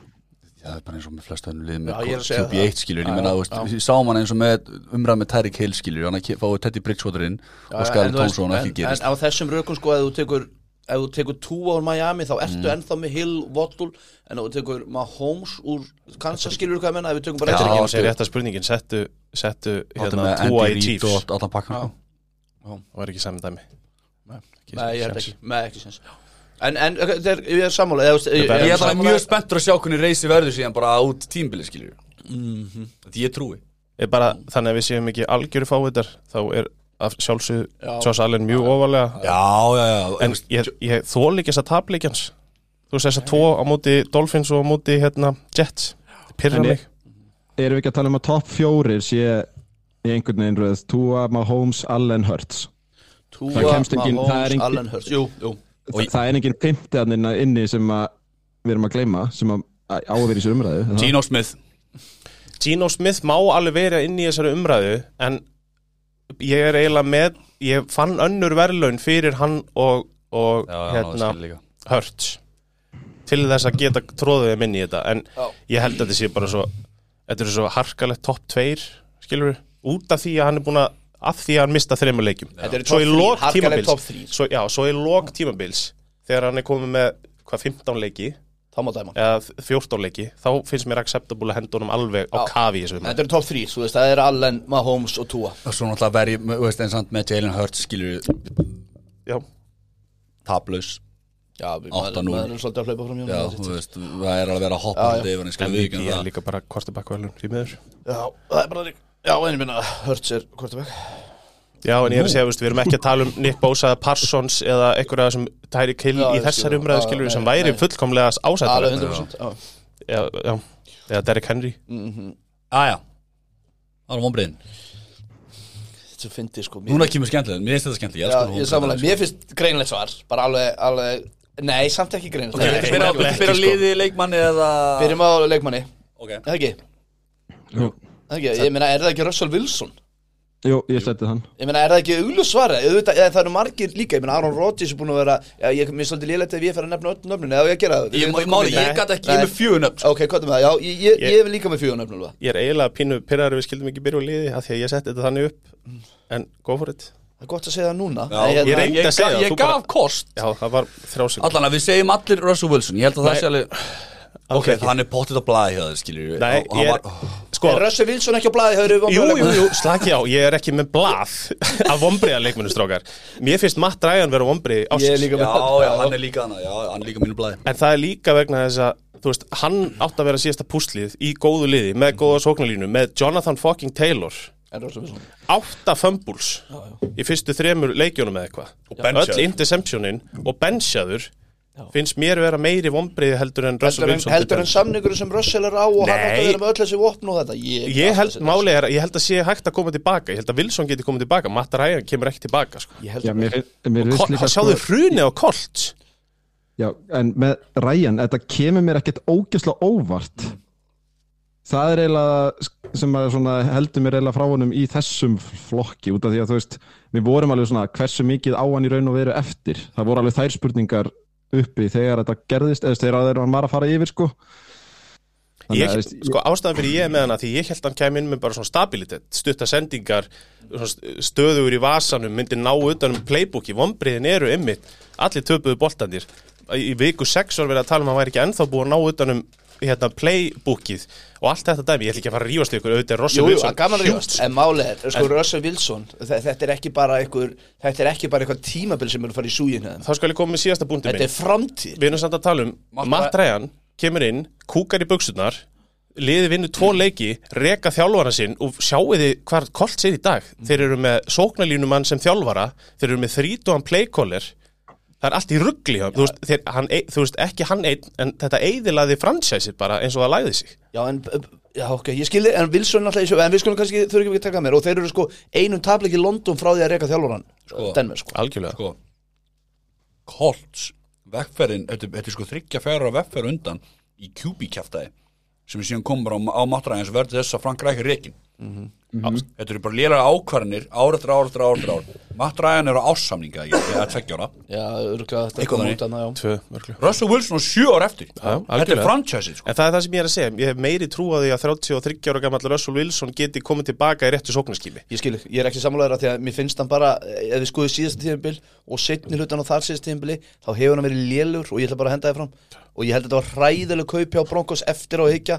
S1: það er bara eins og með flest önnum liði
S3: Já, ég er
S1: með
S3: að segja
S1: QB1 skilur ég meina þú veist við sáum hann eins og með umræð með Tyreek Hill skilur hann að ke- fáið Teddy Bridgewater inn og
S3: En
S1: Skarri
S3: þú veist,
S1: Thompson
S3: en-
S1: ekki gerist
S3: En á þessum rökum sko, ef þú tekur ef þú tekur túa úr Miami þá
S1: Mm.
S3: ertu ennþá með Hill, Waddle en ef þú tekur Mahomes úr Kansas skilur hvað ég menna, ef við tökum bara
S1: Já,
S2: Þetta
S1: já,
S2: er ekki
S3: eftir
S2: eins og rétt að spurningin settu, settu
S1: Áttu
S2: hérna
S1: með
S2: Tua í
S1: Andy Reid
S2: Chiefs
S1: og allan pakkan sko.
S2: Það var ekki saman dæmi Ekki
S3: Nei, ég held
S2: séns.
S3: ekki, með ekki sens En, en ok, þetta er, ég er sammála eða, þú veist, ég,
S2: bara-
S1: Ég
S3: ég
S1: er það
S3: sammála-
S1: mjög spenntur að sjá hvernig reysi verður síðan bara út tímbili skilur
S3: Mhm.
S1: Þetta ég trúi
S2: Ég bara, Þannig að við séum ekki algjöru fávitar þá er af sjálfsög
S3: Já.
S2: Josh Allen mjög ofalega
S1: Já, já, já
S2: En ég, ég þól ekki þess að tapleikjans Þú veist þess að tvo á móti Dolphins og á móti hérna, Jets Pyrra
S4: En ég-
S2: mig
S4: erum við ekki að tala um að topp fjórir sé í einhvern veginn röð Tua, Mahomes, Allen, Hurts
S3: Tua,
S4: Það kemst engin- það er
S3: Mahomes,
S4: engin-
S3: Allen Hurts Jú, jú
S1: Og ég-
S4: það er enginn fimmtiðaninn inni sem að við erum að gleyma sem að á að vera í sér umræðu er það?
S1: Gino Smith
S2: Gino Smith má alveg vera inn í þessari umræðu En ég er eiginlega með Ég fann önnur verðlaun fyrir hann og, og hérna, Hurts Til þess að geta tróðið þeim inn í þetta En
S3: Já.
S2: ég held að þetta sé bara svo Þetta eru svo harkalegt topp tveir Skilur við, út af því að hann er búin að Af því að hann mista þreymur leikjum
S3: Þetta eru
S2: Svo í
S3: topp þrír,
S2: lok
S3: harkaleg
S2: tímabils
S3: topp þrír.
S2: svo, Já, svo í lok tímabils Þegar hann er komið með hvað 15 leiki
S3: Þá má dæma
S2: Eða 14 leiki Þá finnst mér acceptable að henda honum alveg á
S3: Já.
S2: kafi í þessu umræðu.
S3: Þetta eru top 3, þú veist, það er Allen, Mahomes og Tua
S1: Og svo náttúrulega verði, þú veist, eins og með Jalen Hurts skilur
S2: Já,
S1: tablaus
S3: Já, við
S1: Átta núll.
S3: maður er svolítið að hlaupa fram hjá
S1: Já,
S3: honum.
S1: þú veist, það er alveg að vera
S3: Já, já.
S1: hoppandi yfir hann skilur við
S2: MVP
S1: ekki
S2: er
S1: það
S2: líka bara kvartabakkuvelun því miður
S3: Já, það er bara þannig Já, en ég minna, Hurts er quarterback
S2: Já, en ég er að segja, þú veist, við erum ekki að tala um Nick Bosa eða Parsons eða einhverja sem tæri kill
S3: Já,
S2: í
S3: ég
S2: þessari
S3: skil.
S2: umræðu
S3: Já,
S2: skilur
S3: nei,
S2: sem væri
S3: nei.
S2: fullkomlega
S3: Alveg
S2: ásættalegt
S3: 100% já.
S2: Já, já, eða Derrick Henry
S1: Æja, það var vonbriðin
S3: Þetta er fyndið sko mér-
S1: Núna kemur sko, skemmtilega, mér finnst þetta skemmtilega
S3: Já, ég er samanlega, mér finnst greinlegt svar Bara alveg, alveg Nei, samt ekki greinlegt
S1: Þú
S3: okay.
S1: veist, byrja-
S2: nefnilega ekki,
S1: byrja
S2: sko.
S1: liði leikmanni eða
S3: Byrjum á leikmanni
S1: Ok,
S3: Er Það ekki,
S4: Jú,
S3: Er það ekki Ég meina, er það ekki Russell Wilson?
S4: jú, ég setið hann
S3: Ég meina, er það ekki augljós svara? Auðvitað, eða, það eru margir líka, ég meina, Aaron Rodgers er búin að vera Já, ég mér er svolítið lélegt ef ég fer að nefna öll nöfnin Eða á ég að gera það
S1: ég, ég, máli, ég gat ekki, ég er með sko. fjögunöfn
S3: Ok, hvað er með það? Já, ég, ég,
S2: Ég-
S3: ég er líka með fjögur nöfn alveg
S2: Ég er eiginlega pínu pyrraður við skildum ekki byrja úr liði af því að ég setti þetta þannig upp en go for it
S3: Það er gott að segja það núna
S1: Já,
S3: Nei,
S2: ég
S3: hérna-
S2: reyndi að segja það,
S1: Ég
S2: þú bara-
S1: gaf kost
S2: Já, það var þrjásing
S1: Allan að við segjum allir Russell Wilson Ég held að það
S2: Nei.
S1: sé alveg Ok, hann er pottit að blaði hjá það, skilur við
S2: Nei,
S1: Og hann
S2: ég
S1: var-
S2: er, sko,
S3: Er hérna, Russell Wilson ekki á blaði, höfðu við
S2: jú, jú, jú, slaki á ég er ekki með blað af vombriða leikmennustrákar Mér finnst Matt Ryan vera vombriði
S3: Ég er líka
S1: Já,
S3: með
S1: já, hann er líka hann Já, hann er líka mínu blaði
S2: En það er líka vegna þess að þú veist, hann átt að vera síðasta púslið í góðu liði,
S3: Mhm.
S2: með góða sóknarlínu með Jonathan fucking Taylor
S3: En Russell Wilson
S2: átta fumbles í fyrstu þremur leikjónum eða
S1: benchaður.
S2: eitthvað öll interceptionin og benchaður finnst mér vera meiri vombriði heldur en Russell
S3: Heldur en,
S2: Wilson
S3: heldur en samningur sem Russell er á og hann átt að
S2: Nei.
S3: vera með öll þessi vopn og þetta Ég,
S2: ég held,
S3: þetta-
S2: máli er, að- ég held að sé hægt að koma tilbaka ég held að Wilson geti komið tilbaka, Matt Ryan kemur ekki tilbaka sko.
S3: Ég held
S4: Já, mér, fin- mér finnst
S2: Kol,
S4: líka sko-
S2: sjáðu hrunið á Colt
S4: já, En með Ryan, þetta kemur mér ekkert ógeðslega óvart Það er eiginlega sk- sem að svona heldur mér eiginlega frá honum í þessum flokki út af því að þú veist við vorum alveg svona hversu mikið á hann í raun og veru eftir það voru alveg þær spurningar uppi þegar þetta gerðist eða þegar að hann var að fara yfir sko Þannig
S2: ég,
S4: að, veist,
S2: sko ástæðan fyrir ég er með hana því ég held að hann kæmi inn með bara svona stabilitet stutta sendingar, svona st- stöðugur í vasanum myndi ná utan um playbooki vombriðin eru ymmit, allir töpuðu boltandir í viku 6 var verið að tala um að hann væri ekki ennþá búið að ná utan um hérna, playbookið og allt þetta dæmi, ég ætl ekki að fara að rífast við ykkur auðvitað er Rossi
S3: Jú, jú,
S2: Wilson
S3: að gaman rífast
S2: huge
S3: En málið er, sko, Russell Wilson þe- Þetta er ekki bara einhver Þetta er ekki bara eitthvað tímabil sem er að fara í súgin
S2: þá skal ég koma með síðasta búndum
S3: Þetta
S2: minn
S3: er framtíð
S2: við erum samt að tala um
S1: Matt
S2: Matt Ryan kemur inn, kúkar í buksunar liði vinnu tvo leiki reka þjálfara sinn og sjáu þið hvað kolt sér í dag, þeir eru með sóknalínumann sem þjálfara, þeir eru með þrítuan playcaller, það er allt í ruggli ja. þú, veist, þeir, hann, ei- þú veist ekki hann einn, en þetta eiðilaði fransæsir bara eins og það læði sig
S3: Já, en, b- b- já, ok, ég skilði En Wilson alltaf, í þessu- en við skulum kannski þurfi ekki að taka mér Og þeir eru sko einum tablik í London frá því að reyka þjálfóran
S1: Sko.
S3: Denver, sko
S2: algjörlega,
S1: sko Colts vegferðin, þetta þetta er sko þryggja fjara vegferð undan í QB kjaftaði sem er síðan komur á, á matræðin sem verður þess að Frank Rækir reikin Mm-hmm. þetta eru bara lélega ákvarðinir ár eftir ár eftir ár eftir ár matræðin eru ássamninga, ég er tveggja ára
S3: Já, örgulega þetta
S1: Eitthvað
S3: kom
S1: þannig.
S3: út annað, já
S2: tvö mörglu
S1: Russell Wilson á sjö ára eftir þetta er
S2: algjörlega.
S1: franchise sko.
S2: En það er það sem ég er að segja, ég hef meiri trú á því að 33 ára gammal Russell Wilson geti komið tilbaka í réttu sóknarskými.
S3: Ég skil, ég er ekki sammálaður að því að mér finnst hann bara eh, ef við skoðum síðasta tíðanbíl og setni hlutan á þar síðasta tíðanbíli þá hefur hann verið lélur og ég ætla bara að henda þið fram og ég held að þetta var hræðileg kaupi á Broncos eftir á að higgja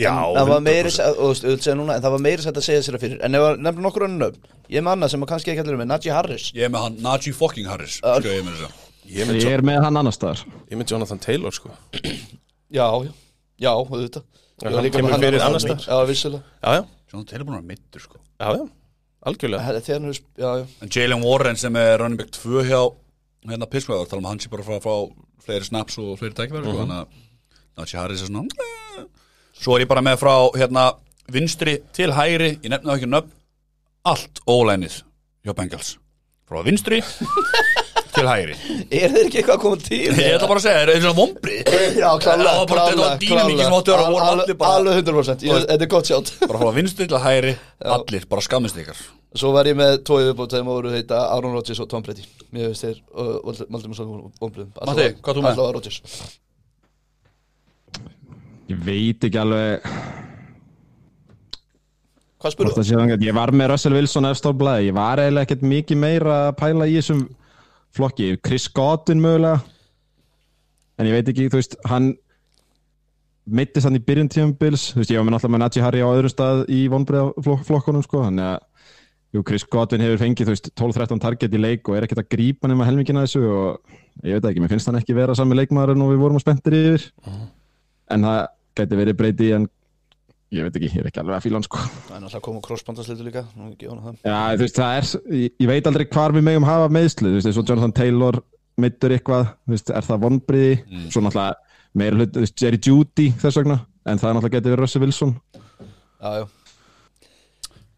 S2: Já,
S3: en það var
S2: 100%.
S3: meiri og þú veist, auðvitað segja núna, en það var meiri sætt að segja sér að fyrir en ef að nefna nokkur önnum ég er með annað sem að kannski ekki allir með, Najee Harris
S1: ég er með hann Najee fucking Harris sko, ég með þess
S2: Ég
S4: ég,
S2: mynd,
S4: ég er með hann annar staðar
S2: ég mynd Jonathan Taylor sko.
S3: Já, já, já, auðvitað
S2: hann kemur fyrir annars staðar.
S3: Já, vissulega
S2: Já, já,
S1: að Taylor búin að vera mittur sko.
S2: já, já, algjörlega.
S3: Þegar hann hefur, já, já
S1: en Jalen Warren sem er running back 2 hjá hérna Pittsburgh, þá erum hann sér bara frá, frá fleiri snaps og fleiri tækifæri sko, þannig að Najee Harris er svona "Meh." svo er ég bara með frá hérna vinstri til hægri, ég nefna það ekki nöfn allt ólænið hjá Bengals frá vinstri til hægri
S3: Er þeir ekki eitthvað að koma til?
S1: ég ætla bara að segja, er það svona vombri
S3: Já, klálega,
S1: Það var bara- þetta var dýnamíkin sem átti að vera, voru
S3: Al- al-
S1: allir bara-
S3: Alveg 100%, ég- þetta er gott sjátt
S1: bara frá vinstri til hægri, allir, bara skammist ykkar
S3: Svo var ég með tvo yfirbót þegar maður voru heita Aaron Rodgers og Tom Brady Mér finnst þeir uh, Maldum og svo vonblöðum
S1: Matti, hvað þú með?
S3: Alltaf var Rodgers
S4: ég veit ekki alveg
S3: Hvað
S4: Hvort
S3: spurðu?
S4: það sé þangað. Ég var með Russell Wilson efst á blæði, ég var eiginlega ekkert mikið meira að pæla í þessum flokki, Chris Godwin mögulega en ég veit ekki, þú veist, hann meittist hann í byrjun tímabils þú veist, ég var með náttúrulega með Najee Harry á öðrum stað í vonbreiðaflokkunum, sko þannig að, jú, Chris Godwin hefur fengið þú veist, 12-13 target í leik og er ekkert að grípa nema helmingina þessu og ég veit það ekki, mér finnst hann ekki vera sami leikmaður en við vorum að spenntir yfir en það gæti verið breyti en ég veit ekki, ég er ekki alveg að fíla hann sko
S3: Það er náttúrulega komið krossbandasleitu líka Nú ekki honum það
S4: Já, þú veist, það er, ég, ég veit aldrei hvar við megum hafa meðslu, þú veist, eins og Jonathan Taylor meittur eitthvað, þú veist, er það vonbriði,
S2: Mm.
S4: svo náttúrulega meira hlut, þú veist, Jerry Judy þess vegna, en það náttúrulega getur verið Russell Wilson.
S3: Já, já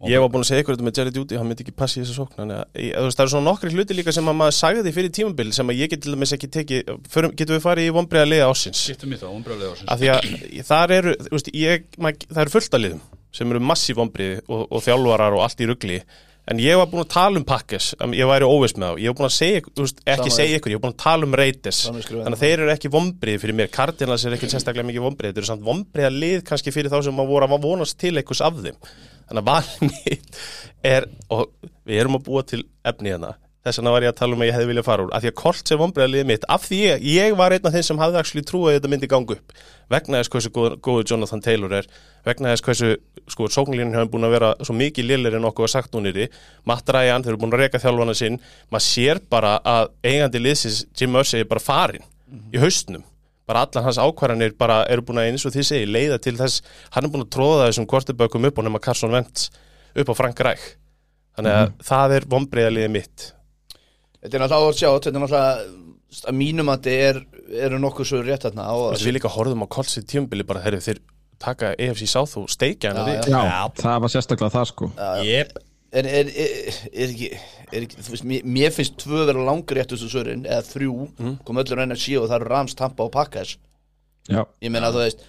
S2: Ég var búin að segja ykkur þetta með Jerry Judy, hann myndi ekki passa í þessu sókn þannig að, ég- þú veist, Það eru svona nokkri hluti líka sem að maður sagði því fyrir tímabil sem að ég get til dæmis ekki tekið förum, Getum við farið í vonbreiða liða ásins
S1: skiptum í það, vonbröðlega
S2: Af því að þar eru, þú veist, ég, mað, það eru fullt af liðum sem eru massíf vonbreiði og, og þjálfarar og allt í ruggli En ég var búin að tala um pakkes, ég væri óveist með þá Ég var búin að segja, ykkur- þú veist, ekki
S3: Sama
S2: segja ykkur, ég var búin að tala um reytis
S3: Sama skrifaði
S2: Þannig að þeir eru ekki vonbreiði fyrir mér Cardinals er ekki sérstaklega mikið vonbreiði Þeir eru samt vonbreiða lið kannski fyrir þá sem maður voru að vonast til einhvers af þeim Þannig að valið mitt er og við erum að búa til efni hérna Þess vegna var ég að tala um að ég hefði viljað fara úr Af því að Colt sem vonbreiða liðið mitt Af því ég, ég var einn af þeim sem hafði actually trúið að þetta myndi ganga upp Vegna þess hversu góð, góðu Jonathan Taylor er Vegna þess hversu sko, sóknlínin hefur búin að vera svo mikið lélir en okkur var sagt hún yfir Matt Ryan, þeir eru búin að reka þjálfana sinn Maður sér bara að eigandi liðsins Jim Ursay er bara farinn í haustnum bara allar hans ákvarðanir bara eru búin að eins og þið segi leiða til þess, hann er búin að tróða þessum kvartabökum upp á nema Carson Wentz upp á Frank Reich þannig
S4: Mhm.
S2: að það er vonbreiðaliðið mitt
S3: Þetta er náttúrulega áhört sjátt Þetta er náttúrulega st- að mínum að þetta er eru nokkuð svo rétt hérna á
S2: Þessi, við líka horfðum á kolsið tímbili bara, herru, þeir taka EFC South og steikja hana
S3: Já,
S2: við.
S4: Já, það var sérstaklega það sko
S1: Jep
S3: En er, er, er, ekki, er ekki, þú veist, mér, mér finnst tvö vera langréttu svo svörin, eða þrjú, kom öllur enn að síu og það eru Rams, Tampa og Packers.
S4: Já,
S3: Ég meina, þú veist,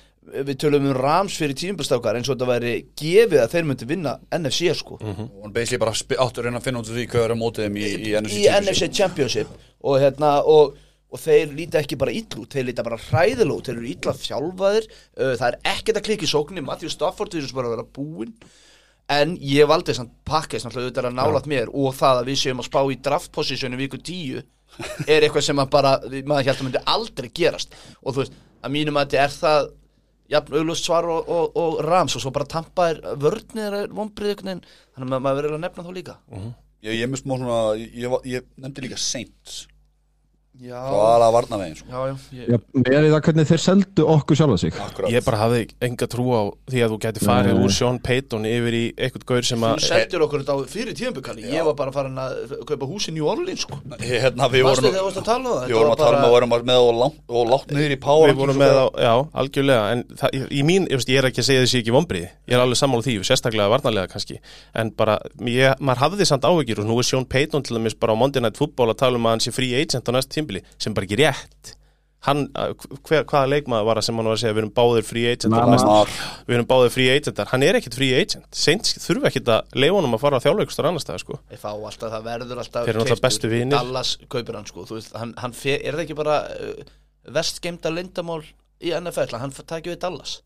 S3: við tölum um Rams fyrir tímubilstákar eins og þetta væri gefið að þeir myndi vinna NFC, sko.
S1: Og hann basically bara sp- átti að reyna að finna út úr því hvað er á mótið þeim í, í NFC
S3: Í NFC Championship og, hérna, og, og þeir líta ekki bara illu, þeir líta bara hræðilú, þeir eru illa þjálfaðir, uh, það er ekkert að klikka í sóknir, Matthew Stafford er bara að vera búinn. En ég valdi samt pakkið sem hlutur að nálaðt mér og það að við séum að spá í draftposisjónu viku 10 er eitthvað sem að bara, maður held að myndi aldrei gerast og þú veist, að mínum að þetta er það jafn auglust svar og, og, og rams og svo bara tampa er vörnir er vonbrið einhvern veginn, þannig að ma- maður verður að nefna þá líka
S1: Ég, ég, er með smá svona, ég, ég var- ég nefndi líka Saints
S3: Já,
S1: Það var að varna veginn sko.
S3: já, já, ég,
S4: Já með er það hvernig þeir seldu okkur sjálfa sig
S1: Akkurat
S2: Ég bara hafði enga trú á því að þú gæti farið
S4: Nei.
S2: úr Sean Payton yfir í eitthvað gaur sem
S3: Þú
S1: Eh,
S2: að...
S3: sendir okkur þetta á fyrir tíðanbyggalli Ég var bara farin að kaupa hús í New Orleans sko.
S1: Hérna við
S3: Vastu
S1: vorum
S3: þegar þú varst að tala um það
S1: Við vorum að tala um að vorum með og langt, og langt niður í power
S2: Við vorum með á, já, algjörlega, en það, í- í mín, ég, veist, ég er ekki að segja þessi ekki vombriði, ég er alveg sammála því, sérstaklega varnarlega kannski, en bara, ég, maður hafði samt áhyggjur og nú er Sean Payton til dæmis bara á Monday Night Football að tala um að hann sé free agent á næst tímbili, sem bara ekki rétt. Hann, að- hver, hvaða leikmaður var það sem hann var að segja, við erum báðir free agent á
S4: Lamar.
S2: næst við erum báðið frí agentar, hann er ekkit frí agent Saints þurfa ekkit að leifa honum að fara á þjálfaukustur annars staðar sko
S3: Þeir fá alltaf, það verður alltaf
S2: Þeir eru náttúrulega
S3: keyptur.
S2: bestu vinir.
S3: sko, Dallas kaupir hann sko, þú veist, hann, hann fe, er það ekki bara uh, vestgeimda lindamál í NFL, hann takja við Dallas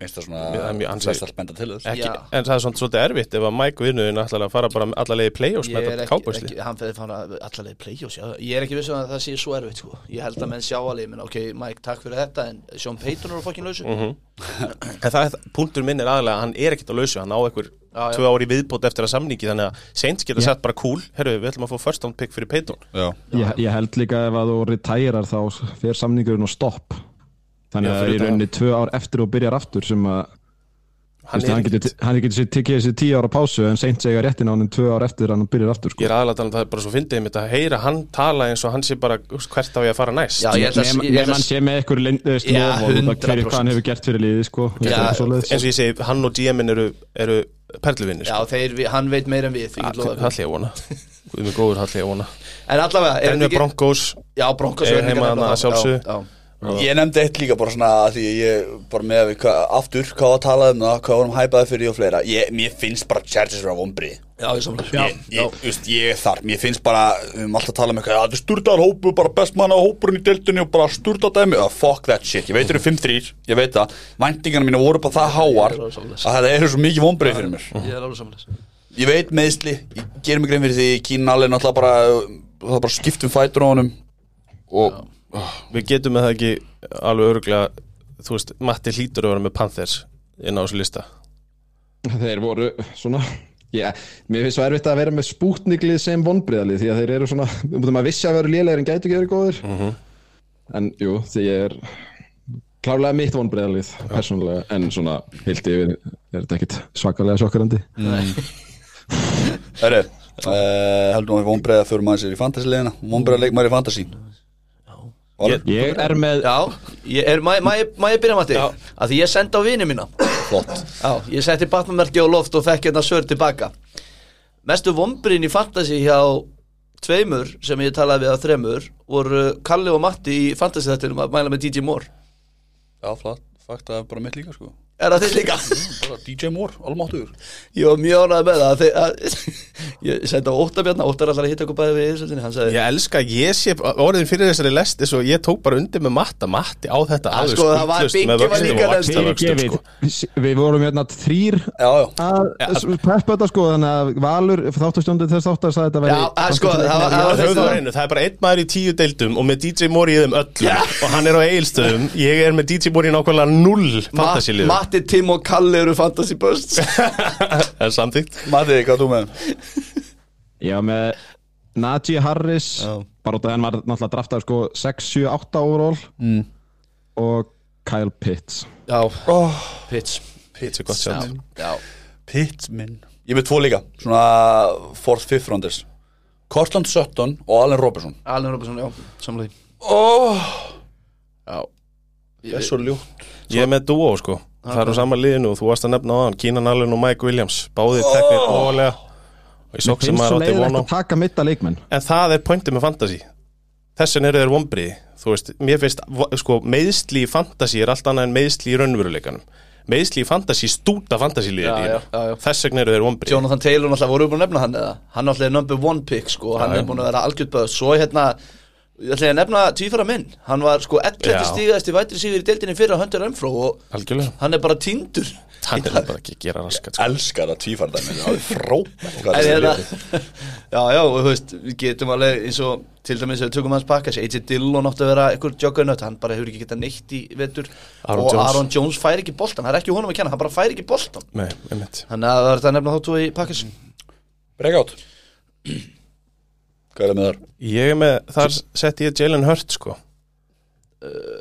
S1: Minnst það svona
S2: Við- það er mjög ansætt.
S1: flest allt benda til þess
S2: ekki,
S3: Já.
S2: en það er svona svolítið erfitt ef að Mike vinnuðin ætlaði að fara bara um alla leiði play-offs með þetta kápusli
S3: ekki, hann fyrir fann að allavega play-offs, já, ég er ekki vissum að það sé svo erfitt sko, ég held að menn sjá alveg, menn ok, Mike, takk fyrir þetta, en Sean Payton er að fokkin lausu,
S1: Mhm.
S2: en það er það- punktur minn er aðalega að hann er ekkit á lausu hann á einhver
S3: Já, já.
S2: tvö ári viðbót eftir að samningi þannig að Saints geta sett bara cool herru við ætlum að fá first round pick fyrir Payton
S1: Já
S4: ég, ég held líka ef að þú retirar þá fer samningurinn og stopp Þannig
S2: Já,
S4: að
S2: fyrir
S4: í
S2: þetta,
S4: rauninni tvö ár eftir og byrjar aftur sem að
S2: hann
S4: Veistu, hann,
S2: er
S4: getur,
S2: ekkit
S4: hann getur sér tekið þessi tíu ára pásu en seint segja réttin á hann tvö ára eftir hann byrjar aftur
S2: ég
S4: sko.
S2: er aðalega að tala um það er bara svo fyndið einmitt að heyra hann tala eins og hann sé bara "Úst, hvert á ég að fara næst
S3: Já, ég held að-
S4: Nefn
S3: ég held
S4: hann
S3: að
S4: sé með einhver lindist
S3: Já,
S4: lofa
S3: 100%.
S4: hverju hvað hann hefur gert fyrir liði sko.
S3: Já,
S4: Þetta er svoleiðis.
S2: eins og ég segi hann og GM-in eru, eru perluvinni
S3: já, þeir, vi- hann veit meira en við, því ég lofa
S2: Hallið að vona Guð mig góður hallið að vona
S3: en allavega, er
S2: Denver
S3: þetta ekki-
S2: Broncos
S3: já, Broncos
S2: Eru
S3: eru
S2: heima
S3: líka
S2: þarna að
S3: nefnilega- hérna já,
S2: sjálfsögðu.
S3: já.
S1: Ég nefndi eitt líka bara svona að Því ég bara með að við hva, Aftur hvað var talað um það Hvað vorum hæpaði fyrir því og fleira ég, Mér finnst bara Chargers vera vombri
S3: Já, ég samlega
S1: Ég, ég, just, ég er þar, mér finnst bara við erum alltaf að tala um eitthvað, að þið sturtar hópu bara best manna hópurinn í deltunni og bara sturtar dæmi uh, fuck that shit, ég veit þeir eru 5-3 ég veit það, væntingarna mínu voru bara það háar
S3: Ég er alveg
S1: að
S3: sammála. Mm.
S1: það eru svo mikið vonbreið fyrir mér
S3: Ég er alveg samanlega
S1: Ég veit meðsli, ég ger mig grein fyrir því Kína alveg náttúrulega bara það er bara skiptum fætur á honum og
S2: Við getum með það ekki alveg öruglega Þú veist, Matti hlýtur að vera með Panthers inn á þessu lista
S4: þeir voru svona Já, mér finnst svo erfitt að vera með spútniglið sem vonbriðalið því að þeir eru svona um að maður vissi að vera lélegir en gætu ekki verið góðir en jú, því ég er klálega mitt vonbriðalið persónulega, en svona heilt yfir er þetta ekkit svakalega sjokkarandi
S1: Herri, uh, heldum að við vonbreið að fyrir maður sér í fantasy-leðina vonbreið að leikmaður í fantasy Valur,
S4: ég er með
S3: Já, ég er, má, má, ég- má ég byrja Matti? Að því ég sendi á vini mína
S1: flott
S3: Já, ég setti batnamerki á loft og fekk hérna svör tilbaka Mestu vombrin í fantasy hjá tveimur sem ég talaði við á þremur voru Kalli og Matti í fantasy þettinum að mæla með DJ Moore
S1: Já, flott, fakt að bara mitt líka sko
S3: Er það þið líka?
S1: bara DJ Moore, almáttugur
S3: Ég var mjög ánægð með það þeir, að, Ég sendi á Óttabjarna, Óttar allar að hitta okkur bæði við í svolítinni Hann sagði,
S2: Ég elska að ég sé orðin fyrir þessari lest eins og ég tók bara undir með Matta Matti á þetta
S3: Ah, sko, það var-
S2: skuldlaust
S3: Biggi
S2: með
S3: var
S2: vöxtum
S3: líka
S2: og
S3: nefnd.
S2: vaxtavöxtum, sko.
S4: við vorum hérna þrýr
S1: Já, já
S4: að peppa þetta sko þannig að Valur þáttastjóndið þess þáttar sagði þetta
S3: Já, að sko, það var-
S2: Það
S3: það
S2: er höfðu á
S3: var
S2: hreinu, það er bara einn maður í tíu deildum og með DJ Mori í þeim öllum og hann er á eigilstöðum, ég er með DJ Mori í nákvæmlega null
S3: Ma-
S2: fantasíliðum
S3: Matti, Tim og Kalli eru fantasy busts
S2: Það er samþýtt
S1: Mati, hvað þú með?
S4: Já, með Najee Harris
S3: Já.
S4: bara út af henn var náttúrulega draftað sko 6-7-8 overall mm. og Kyle Pitts
S3: Já,
S1: Oh,
S3: pitch
S2: Þetta er gott sjá
S3: Já,
S1: Pittman Ég er með tvo líka, svona fourth, fifth rounders Cortland Sutton og Allen Robertson
S3: Alveg Róbesson, já, samlega Já Ég
S1: Það er
S3: veit-
S1: svo ljótt
S2: Ég er með duo sko Það er á sama liðinu og þú varst að nefna á hann Kínan Allen og Mike Williams Báðir teknir
S3: Oh.
S2: ólega Og ég sók sem
S4: finnst svo
S2: maður átti
S4: leiðilegt
S2: von á
S4: að taka mitta leikmenn
S2: En það er pointið með fantasy Þessin eru þeir vombriði Þú veist, mér finnst vo- sko, Meiðsli í fantasy er allt annað en meiðsli í raunveruleikanum Meiðsli í fantasy stúta fantasy
S3: Já, já,
S2: liðinu
S3: já, já.
S2: Þess vegna eru þeir vombriði
S3: Jonathan Taylor náttúrulega voru búin að nefna hann eða hann náttúrulega er number one pick sko hann er búin að vera algjörð böð svo hérna ég ætla ég að nefna tvífara minn hann var sko 11
S2: Já.
S3: stígaðasti vætri sigur í deildinni fyrir að höndur Renfró og
S2: Algjörlega
S3: hann er bara tindur
S2: Hann er bara ekki að gera raskat sko.
S1: Elskar það tvífarðan Það er frábært hvað
S3: en
S1: þetta er
S3: hérna
S1: ljótt.
S3: já já og þú veist við getum alveg eins og til dæmis ef við tökum hans pakkas AJ Dillon átti að vera einhver joggunut hann bara hefur ekki getað neitt í vetur
S2: Aaron
S3: og
S2: Jones.
S3: Aaron Jones fær ekki boltan það er ekki honum að kenna hann bara fær ekki boltan
S2: Nei, einmitt
S3: þannig að það er þetta nefna þá tvo í pakkas
S1: Breakout Hvað er það með þar?
S2: Ég er með, þar setti ég Jalen Hurt sko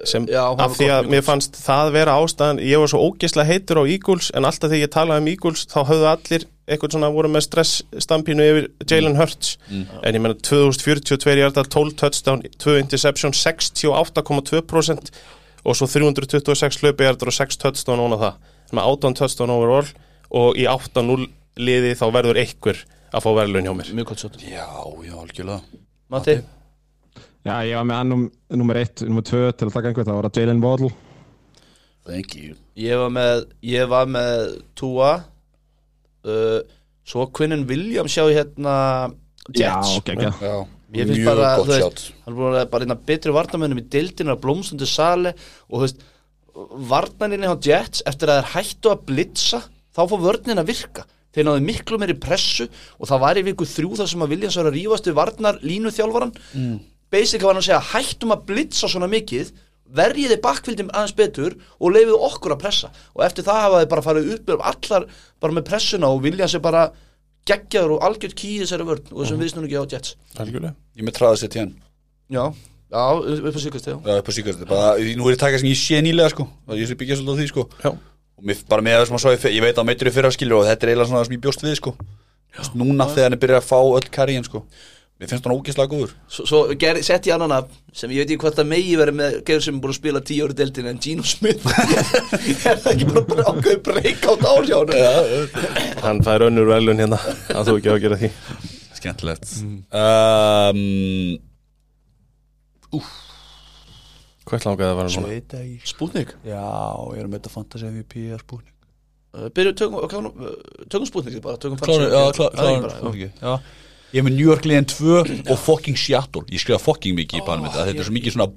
S2: sem,
S3: Eh, já, hann
S2: af
S3: var
S2: því
S3: gott
S2: að
S3: mjög
S2: mér
S3: gott.
S2: fannst það vera ástæðan ég var svo ógislega heitur á Eagles en alltaf þegar ég talaði um Eagles þá höfðu allir eitthvað svona voru með stressstampinu yfir Jalen Hurts
S3: Mm.
S2: en ég menna 2042 hjarta 12 touchdown, 2 interception 68,2% og svo 326 hlaupi hjartar og 6 touchdown óna það, þannig að 18 touchdown overall og í 8-0 liði þá verður einhver að fá verðlun hjá mér
S3: mjög gott svolítið
S1: Já, já, algjörlega
S3: Matti
S4: Já, ég var með hann um nummer 1, nummer 2 til að taka einhvern, það var að Jalen Waddle
S1: Thank you
S3: Ég var með, ég var með Tua uh, Svo Quinnen Williams sjá hérna Jets
S4: Já, geggja
S1: Já,
S3: Ég finnst
S1: mjög
S3: bara,
S1: gott
S3: þú
S1: sjátt
S3: veist, hann er búin að vera bara einna betri vartamönnum í deildinu að blómstundu sali og þú veist, vartaninni á Jets eftir að þeir hættu að blitza þá fór vörnin að virka þeir náðu miklu meiri pressu og það var í viku þrjú þar sem að Viljans var að rífast við varnar línu þjálfaran mm. basic var hann að segja hættum að blitza svona mikið verjiði bakkvildum aðeins betur og leifiðu okkur að pressa og eftir það hafa þeir bara farið upp um allar bara með pressuna og Viljans er bara geggjaður og algjörð kýði þessari vörn og þessum mm. viðsnúningi á Jets
S2: Algjörlega
S1: Ég er með traðið sér tján
S3: Já, já, upp á síkast, já
S1: Já, upp á síkast bara, Nú er ég að taka sem ég sé nýlega sko Það ég sé byggja svolítið á því sko
S2: Já.
S1: Og mér, bara með það sem að svo ég, ég veit að meittur í fyrra skilur Og þetta er eiginlega svona það sem ég bjóst við sko Þess, Núna þegar hann er byrjað að fá öll karriðin sko Mér finnst hann ógeðslega góður
S3: Svo, svo ger, sett ég annan af sem ég veit ekki hvað það megi verið með gauður sem er búin að spila tíu ári deildin en Gino Smith er það ekki bara bre- ákveðið breyk átt ár hjá hann
S2: Hann fær önnur velun hérna að þú ekki á að gera því
S1: Skemmtilegt um,
S2: Hvert langaði það að vera núna?
S1: veit ég ekki
S3: Spútnik
S1: Já, ég er með þetta fantasy MVP að spúni
S3: uh, Byrju, tökum, ok, nú, uh, tökum Spútnik bara, tökum
S1: Klárum, já, klá,
S3: Það er ekki
S1: klárum
S3: bara,
S1: okay, já. Ég er með New York liðin 2 og fucking Seattle Ég skrifa fucking mikið í panum þetta Þetta er svo mikið svona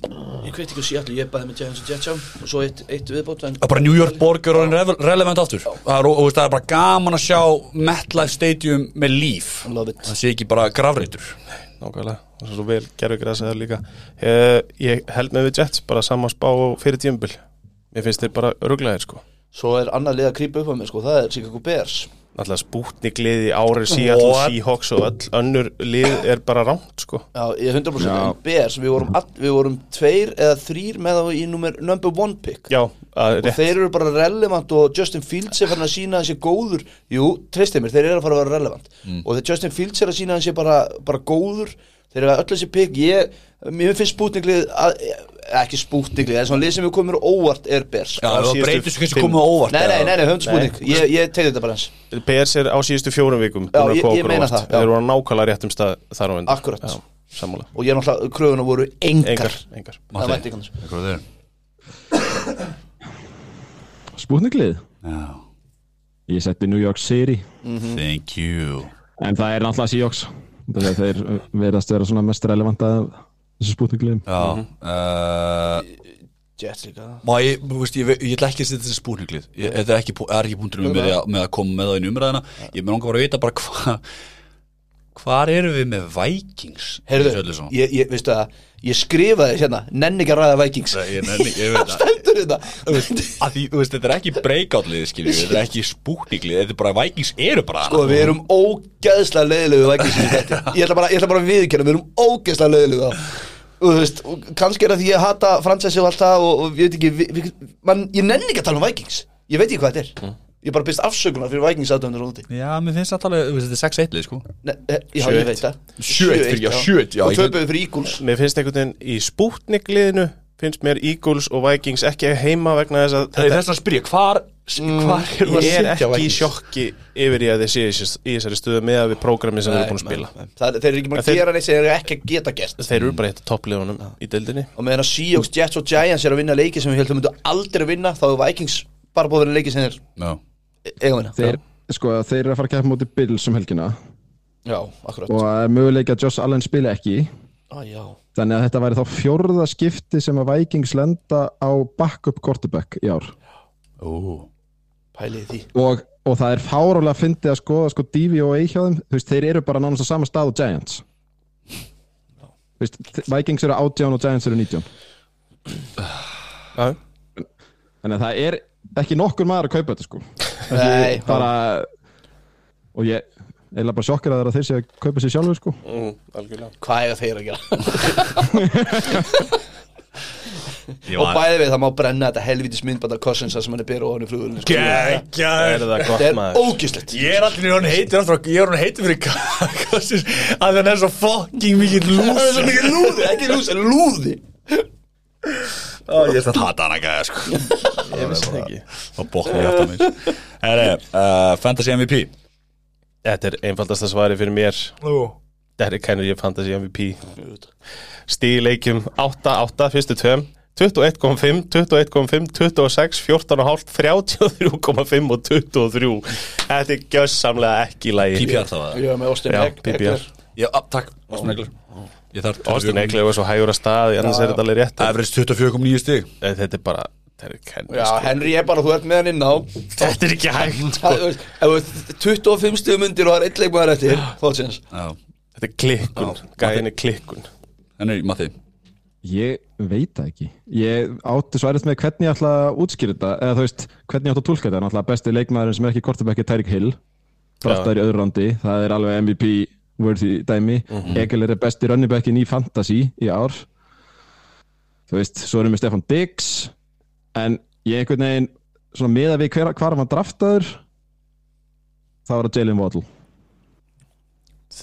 S3: Ég veit ekki að sé allir, ég bæði með Jens og Jetsjá og svo eitt, eitt viðbót en
S1: Það er bara New York borg er orðin revel- relevant aftur það er, og, og, veist, það er bara gaman að sjá MetLife Stadium með líf
S3: Love it
S1: Það sé ekki bara grafreitur
S2: Nákvæmlega, og svo vel gerðu græsaðar líka eh, Ég held með við Jets bara sama spá og fyrir tímbil Mér finnst þeir bara öruglegaðir sko
S3: Svo er annað lið að krýpa upp á mig, sko, það er Chicago Bears
S2: Alltaf spútnigliði, ári, Seattle,
S1: What?
S2: Seahawks og öll önnur lið er bara rámt sko
S3: Já, ég 100%
S4: Já.
S3: en Bears, við vorum, all, við vorum tveir eða þrýr með þá í nummer, number one pick
S2: Já, að,
S3: og þeir eru bara relevant og Justin Fields er farin að sína að hann sé góður jú, treystið mér, þeir eru að fara að vera relevant
S1: Mm.
S3: og þegar Justin Fields er að sína að hann sé bara, bara góður, þeir eru að öll þessi pick ég, mér finnst spútninglið að, eh, ekki spútninglið, en svona lið sem við komum mér á óvart er Bears
S1: Já,
S2: Á
S1: það
S2: síðustu
S1: breytur svo kannski
S2: fimm-
S1: komið á óvart
S3: nei, nei, nei, nei, höfum
S2: Nei.
S3: spútning, ég, ég tegði þetta bara eins
S2: BS er á síðustu fjórum vikum
S3: Já,
S2: búin að
S3: ég-
S2: koma
S3: ég
S2: okkur
S3: meina
S2: óvart.
S3: það, já.
S2: Þeir voru á nákvæmlega réttum stað þar á undan
S3: Akkúrat.
S2: Já, sammála
S3: og ég náttúrulega, kröfuna voru engar,
S2: Engar, engar
S3: það mætti ekki annars
S1: Hvað er það?
S4: Spútniklið
S1: Já,
S4: Ég setti New York City
S1: thank you
S4: En það er náttúrulega Seahawks Það er þeir uh, verðast vera svona mest relevant að þessu spútniklið
S1: Já, uh,
S3: Jets líka,
S1: Má ég, þú veist, ég, ég, ég ætla ekki að setja þessi spúrnuglið Þetta er ekki, pú- er ekki punkturinn með, að- með að koma með það inn í umræðina Ég með langar bara að vita bara hvað Hvar erum við með Vikings?
S3: heyrðu,
S1: Sölluson?
S3: ég, ég, veistu það ég skrifaði hérna, nenni ekki að ræða Vikings
S1: Ég, ég, nenni- ég veit það
S3: stendur hérna. þetta
S1: Þú veist, að því, þú veist, Þetta er ekki breykáttlið, skiljum Þetta er ekki spúkniglið, þetta er bara Vikings eru bara
S3: Sko við erum ógeðslega leiðilegu vækingsinu þetta Ég ætla bara, ég ætla bara að viðkjöna, við erum ógeðslega leiðilegu á Og þú veist, og kannski er það því ég hata
S2: Mm.
S3: fransessi og allt það og, og ég veit ekki, vi, vi, man, ég nenni ekki að tala um Vikings Ég veit ekki hvað þetta er Ég bara byrst afsökunar fyrir Vikings aðdöfnir úti
S1: Já, mér finnst þetta alveg, þú veist, þetta er 6-1 lið, sko
S3: Nei, eh, Já, ég
S2: 7-1.
S3: veit það
S1: 7-1 fyrir- já, 7-1, já,
S3: Og
S1: ég-
S3: töpuðu fyrir Eagles
S2: Mér finnst einhvern veginn í spútnikliðinu finnst mér Eagles og Vikings ekki heima vegna þess að
S1: Það er þess að spyrja, hvar, hvar erum við að
S2: ég
S1: sitja
S2: er ekki í
S1: Vikings?
S2: sjokki yfir í að þeir séu í þessi- í þessari stöðu með að við prógrami sem þeir eru búin að spila
S3: Það, þeir eru ekki maður
S2: En
S3: að
S2: þeir-
S3: gera neitt sem þeir eru ekki að geta gert Mm.
S2: Þeir eru bara hitt toppliðunum í deildinni
S3: Og meðan að Seahawks, Jets og Giants er að vinna leiki sem við heldum myndu aldrei að vinna þá er Vikings bara búið að vera leiki sem þeir
S1: Já.
S3: eiga að vinna
S4: þeir, sko, þeir eru að fara að keppa móti Bills um helgina
S3: Já, akkurat
S4: og það er möguleik að Josh Allen spila ekki
S3: ah, já.
S4: þannig að þetta væri þá fjórða skipti sem að Vikings lenda á backup quarterback í ár
S1: Ó.
S3: Pælið í því
S4: og, og það er fárálega að fyndi að skoða sko Divi og Eichjáðum, þú veist, þeir eru bara nánast á sama stað og Giants Þú veist, þe- Vikings eru 18 og Giants eru 19
S2: Já.
S4: þannig að það er ekki nokkur maður að kaupa þetta sko
S3: Nei,
S4: bara og ég eiginlega bara sjokkar að það er að þeir séu að kaupa sér sjálfur sko
S2: mm, Algjörlega
S3: hvað eiga þeir að gera?
S1: Ég
S3: Og
S1: var-
S3: bæði við, það má brenna þetta helvitis myndbandar Cousins þar sem hann er byrja ofan í flugurinn
S2: Það
S1: Gekkjaður.
S2: er það
S3: Það
S2: gott
S3: er
S2: maður
S3: ógislegt
S1: Ég er allir hún heitir aftur á- Ég er hún heitir fyrir Kassins að hann er svo fucking mikið
S3: Það er svo
S1: lús
S3: mikið lúði, ekki lúsi, lúði
S1: Ég er það hata hann að gæða sko
S2: Ég vissi það ekki
S1: Það bóknir hjátt á mér Herre, uh, Fantasy MVP
S2: Þetta er einfaldasta svari fyrir mér
S1: Nú
S2: Derrick Henry Fantasy MVP Stíð í leikjum 8-8 fyrstu tveim 21,5, 21,5, 26, 14,5, 33,5 og 23 Þetta er gjössamlega ekki í lagi
S1: PPR það var það
S3: Ég var með Austin
S2: Já,
S3: Eck-
S2: PPR.
S3: Eckler.
S1: Já, á, takk Austin Eckler Ég þarf
S2: Austin Eiklega var svo hægur að staði, annars er þetta alveg rétt
S1: Average 24,9 stig
S2: En Þetta er bara, Derrick Henry
S3: Já,
S2: sko.
S3: Henry er bara, þú ert með hann inn á
S2: Þetta er ekki hægt sko.
S3: Það, þú veist, Ef þú ert 25 stuðum undir og það er einn leikmaður eftir Þá er séns
S1: Já
S2: Þetta er klikkun,
S1: Já.
S2: gæðin er klikkun
S1: Henry, Matti
S4: ég veit það ekki ég átti svo erfitt með hvernig ég ætla að útskýra þetta eða þú veist, hvernig ég átti að tólka þetta náttúrulega besti leikmaðurinn sem er ekki kortabekki Tyreek Hill draftaður í öðru randi, það er alveg MVP worthy dæmi, mm er besti runningbekkin í fantasy í ár þú veist, svo erum við Stefan Diggs en ég einhvern veginn svona meða við hver, hvar hann var draftaður þá var það Jalen Waddle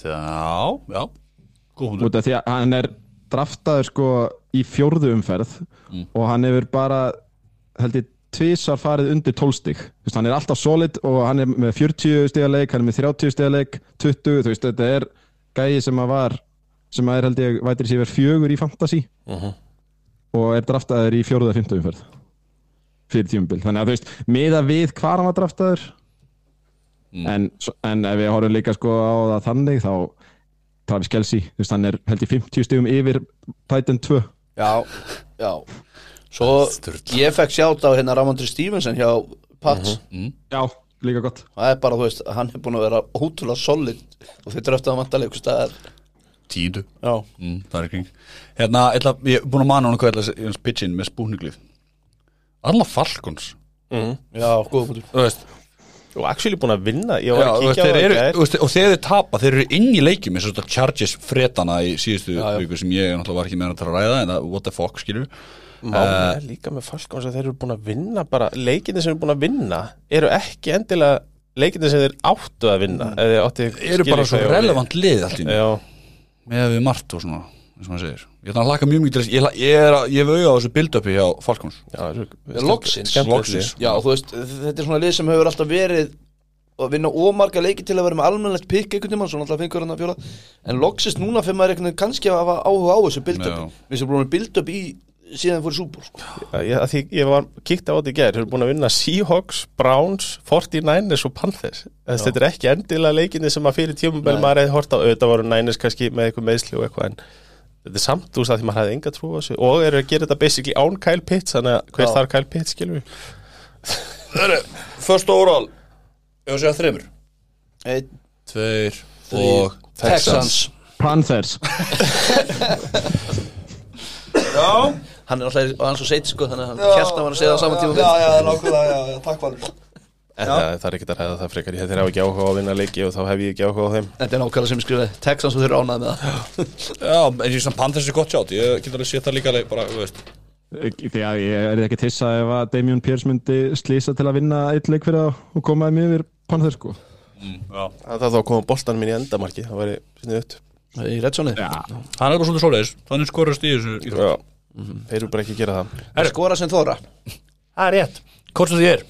S1: Já, já Góð hundur
S4: út af því að hann er draftaður sko í fjórðu umferð og hann hefur bara held ég tvisar farið undir 12 stig Þú veist, hann er alltaf solid og hann er með 40 stiga leik, hann er með 30 stiga leik 20, þú veist, þetta er gæi sem að var, sem að er held ég vætir sér fjögur í fantasy og er draftaður í fjórðu að fymta umferð fyrir tímubil, þannig að þú veist miða við hvar hann var draftaður en, en ef við horfum líka sko á það þannig þá Travis Kelsey, þú veist, hann er held í 50 stigum yfir Titan 2
S3: Já, já Svo ég fekk sjátt á hérna Ramondre Stevenson hjá Pats
S4: Já, líka gott
S3: Það er bara, þú veist, hann er búin að vera ótrúlega solid og þeir dröftu að vantarlega ykkur staðar
S1: Tíundu
S3: Já,
S1: mm, Það er í kring Hérna, ætla, ég er búin að mana hann hvað ætla að pitchin með spúninglið Alla Falcons
S3: já, góða mútur
S1: Þú veist
S2: Og actually búin að vinna, ég
S1: Já,
S2: var að
S1: þú veist,
S2: kíkja á
S1: þeir
S2: það í
S1: eru,
S2: gær.
S1: þú veist, og þegar þeir tapa, þeir eru inn í leikjum eins og þetta Chargers fretana í síðustu
S3: já.
S1: viku sem ég náttúrulega var ekki með hann til að ræða en það, what the fuck, skilur
S2: Málið er líka með Falcons að þeir eru búin að vinna bara, leikinni sem eru búin að vinna eru ekki endilega leikinni sem þeir áttu að vinna eða þeir áttu
S1: eru bara svo relevant lið allt í einu,
S2: Já,
S1: með við margt og svona eins og maður segir, ég ætla að hlaka mjög mikið til þess ég, ætla- ég er að, ég hef auðvitað á þessu build-upi hjá Falcons
S2: já er,
S3: Loksins.
S1: Loksins.
S3: Já, þú veist, þetta er svona lið sem hefur alltaf verið að vinna ómarga leiki til að vera með almennlegt pikk einhvern tímann, svona alltaf fengur hann að fjóla en loksist núna fyrir maður einhvern veginn kannski að hafa áhuga á þessu
S1: Já.
S3: build-up við sem búin að build-up í síðan fyrir súbúr sko.
S2: Ég, að því, ég var kíkti á þetta í gær, þeir eru búin að vinna Seahawks, Browns, 49ers og Panthers Þess, þetta er ekki endilega leikinni sem að fyrir tímumvel maður hefði hort á auðvitað voru Niners kannski með eitthvað meðsli og eitthvað en þetta er samt úr það því maður hefði enga trú á þessu og eru að gera þetta basically án Kyle Pitts þannig að hver
S3: Já.
S2: þarf Kyle Pitts skilur við
S1: First overall, ég var að segja þreymur
S3: Einn,
S1: Tveir og
S3: Eh, Texans
S4: Panthers
S1: Já,
S3: hann er alltaf, og hann er svo seitt sko þannig að hann kjælt að hann að segja það á saman tíma já, já, nákvæmlega, já, já, takk valur
S2: En það, það er ekkert að ræða það frekar, ég þeir hafa ekki áhuga á að vinna leiki og þá hef ég ekki áhuga á þeim
S3: Þetta er nákvæmlega sem ég skrifaði Texans og þeir eru ánæði með það
S1: já, en ég samt Panthers er gott sjátt, ég get alveg séð það líka alveg bara, þú veist
S4: Því að ég er ekki tissa ef að Damien Pierce myndi slýsa til að vinna eitt leik fyrir það og komaði mjög yfir Panther sko
S1: Já.
S2: Það er þá að koma boltan mín í endamarki Það væri sniðut
S3: Í Redsoni
S1: Hann er bara svolítið svoleiðis Þannig skorast í þessu íþrótt.
S2: Já Mhm. Þeir eru bara ekki að gera það
S3: Skora sem þóra
S5: Það er rétt, hvort sem því er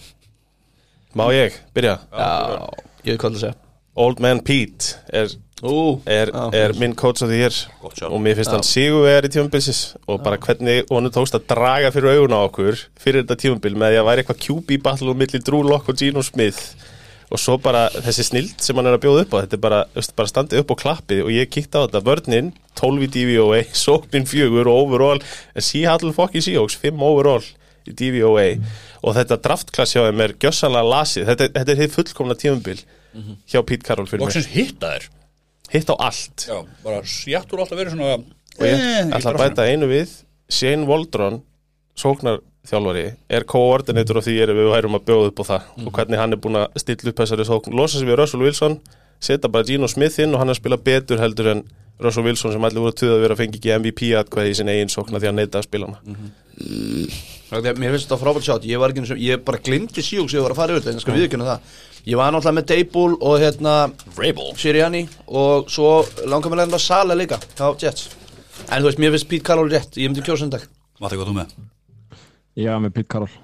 S2: Má ég byrja?
S3: Já, ég veit hvað það segja
S2: Old Man Pete er,
S3: Ú,
S2: er,
S3: já.
S2: er minn coach of the year og mér finnst hann sigurvegar í tímabilsis og bara hvernig honum tókst að draga fyrir augun á okkur fyrir þetta tímabil með því að væri eitthvað QB battle og milli Drew Lock og Gino Smith og svo bara þessi snild sem hann er að bjóða upp á þetta er bara, veist, bara standið upp á klappið og ég kíkti á þetta vörnin 12 í DVOA, sóknin 4 og overall en Seattle fucking Seahawks 5 overall í DVOA og þetta draftklass hjá þeim er gjössalega lasið, þetta, þetta er hitt fullkomna tímabil hjá Pete Carroll fyrir mig
S1: Loksins hitta þér
S2: hitt á allt
S1: Já, bara sjættur alltaf verið svona eh,
S2: og Eh, ég ætla að bæta einu við Shane Waldron sóknarþjálfari er koordinator á því er við værum að bjóða upp á það og hvernig hann er búin að stilla upp þessari sókn losa sig við Russell Wilson, setja bara Gino Smith inn og hann er að spila betur heldur en Russell Wilson sem allir voru að tuða að vera að fengi ekki MVP atkvæði í sinni eigin sókna því að neyta að spila hana
S3: Þegar, mér finnst þetta frábært sjátt, ég var ekki eins og ég bara glimti síjóks ég var að fara yfir þetta, en ég skal viðkynna það ég var náttúrulega með Dable og hérna
S1: Vrabel
S3: Sirianni og svo langar mér að Sala líka, þá Jets en þú veist, mér finnst Pete Carroll rétt, ég myndi kjósa um hendag
S1: Matti, hvað þú með?
S4: Já, með Pete Carroll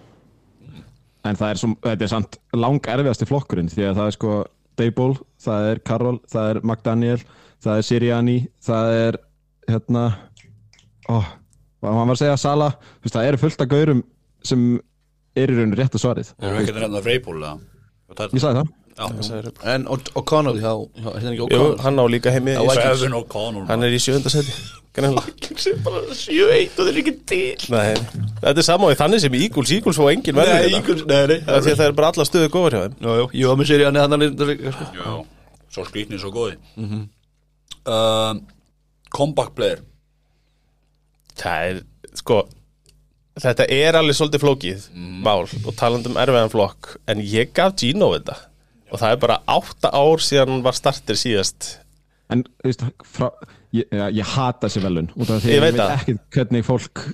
S4: En það er, som, þetta er samt lang erfiðasti flokkurinn því að það er sko Dable, það er Carroll, það er McDaniel það er Sirianni, það er hérna ó, hvað hann var að segja Sala þú veist, það eru fullt af gaurum sem er í raun rétt að svarið
S1: Erum við ekki að nefna Vrabel eða?
S4: Ég sagði það
S1: Já,
S3: en og, og Connolly, þá, hjá- hérna ekki
S2: Jú,
S3: O'Connell
S2: hann á líka heimi í,
S3: Vikings.
S1: Kevin O'Connell
S2: hann er í sjöndasæti
S3: sem bara 7-1 og þeir eru ekki til
S2: Nei, þetta er samáði þannig sem Eagles Eagles fá engin
S3: Nei,
S2: verður
S3: ykkur, nei, nei
S2: því að það er bara alla stöðu góður hjá þeim
S3: Jú, jú, ég var með Sirianni hann er líka, sko
S1: Já, svo skrýtni, svo góði Um, Comeback player
S2: Það er, sko Þetta er alveg svolítið flókið mál og talandi um erfiðan flokk en ég gaf Gino þetta og það er bara átta ár síðan hann var startir síðast
S4: En þú veist, frá, ég, ja, ég hata þessi velun út af því
S2: Ég
S4: að
S2: veit
S4: ég veit
S2: það.
S4: ekki hvernig fólk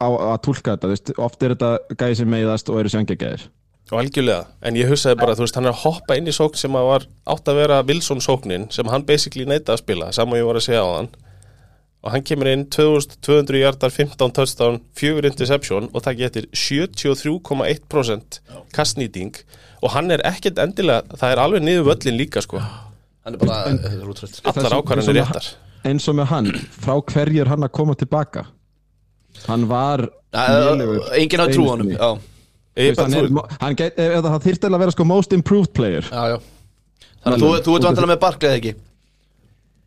S4: á að tólka þetta, þú veist, oft er þetta gæði sem meiðast og eru sjöngegæðir
S2: og algjörlega, en ég hugsaði bara, þú veist, hann er að hoppa inn í sókn sem að var átt að vera Wilson sóknin sem hann basically neitaði að spila saman ég var að segja á hann og hann kemur inn 2200 hjartar 15 touchdown, 4 interception og það getur 73,1% kastnýting og hann er ekkert endilega, það er alveg niður völlin líka sko,
S3: hann er bara, eh, þetta er útrætt
S2: allar ákvarðanir réttar
S4: Eins og með hann, frá hverju er hann að koma tilbaka? Hann var lélegur
S3: eh, enginn á trú
S4: einu
S3: honum,
S4: sinni.
S3: já
S4: Þú
S2: Ég
S4: veist,
S2: bara,
S4: hann er-
S2: þú,
S4: hann gæti- ef- ef Það þyrfti eiginlega að vera sko most improved player
S3: Já, já Þannig að þú, þú ert vantilega með Barkley eða ekki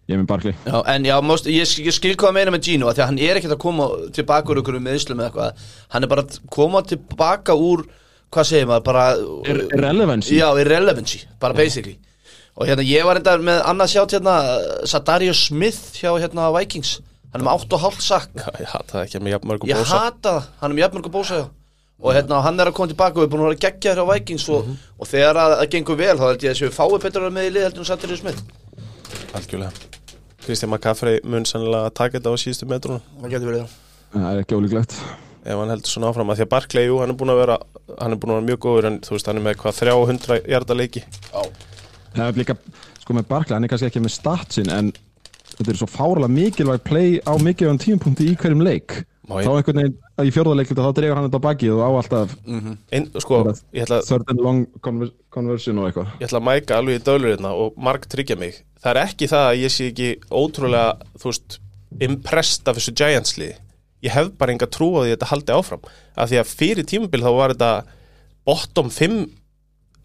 S4: Ég er með Barkley
S3: Já, en já, most, ég, sk- ég skil hvað að meina með Gino að Því að hann er ekkert að koma tilbaka úr einhverju meðslum eða eitthvað Hann er bara að koma tilbaka úr, hvað segir maður, bara
S4: Er relevancy
S3: Já, irrelevancy, bara basically Og hérna, ég var enda með annað sjátt hérna Sadario Smith hjá hérna Vikings Hann er með 8,5 sakk
S2: ég hata það ekki að mig jafn mörgum
S3: Ég
S2: bósa
S3: hata það, hann er með jafnmörg að bósa hjá Og hérna, hann er að koma tilbaka og er búin að vera geggja hjá Vikings og, og þegar að, að gengur vel, þá held ég að séu fáið betra með í lið heldur en Sadario Smith
S2: Algjörlega Kristján McCaffrey mun sannlega að taka þetta á síðustu metrunum
S3: Það getur verið, já
S4: Það er ekki ólíklegt
S2: ef hann heldur svona áfram að því að Barkley, jú, hann er búin að vera hann er búin að vera mjög góður en þú veist, hann er með hvað 300 hjarta leiki
S4: Það er líka, sko með Barkley, hann er kannski ekki með statsin en þetta er svo fárlega mikilvæg play á mikilvægum tímapunkti í hverjum leik
S2: Má ég-
S4: þá einhvern veginn, í fjórðarleik þá dregur hann þetta á bakið og á alltaf
S2: en sko, ég ætla,
S4: third and long conver- conversion og eitthvað
S2: ég ætla að mæka alveg í dölurina og marg tryggja mig það er ekki það að ég sé ekki ótrúlega þú veist, impressed af þessu Giantsliði ég hef bara enga trú á því að þetta haldi áfram af því að fyrir tímabil þá var þetta bottom 5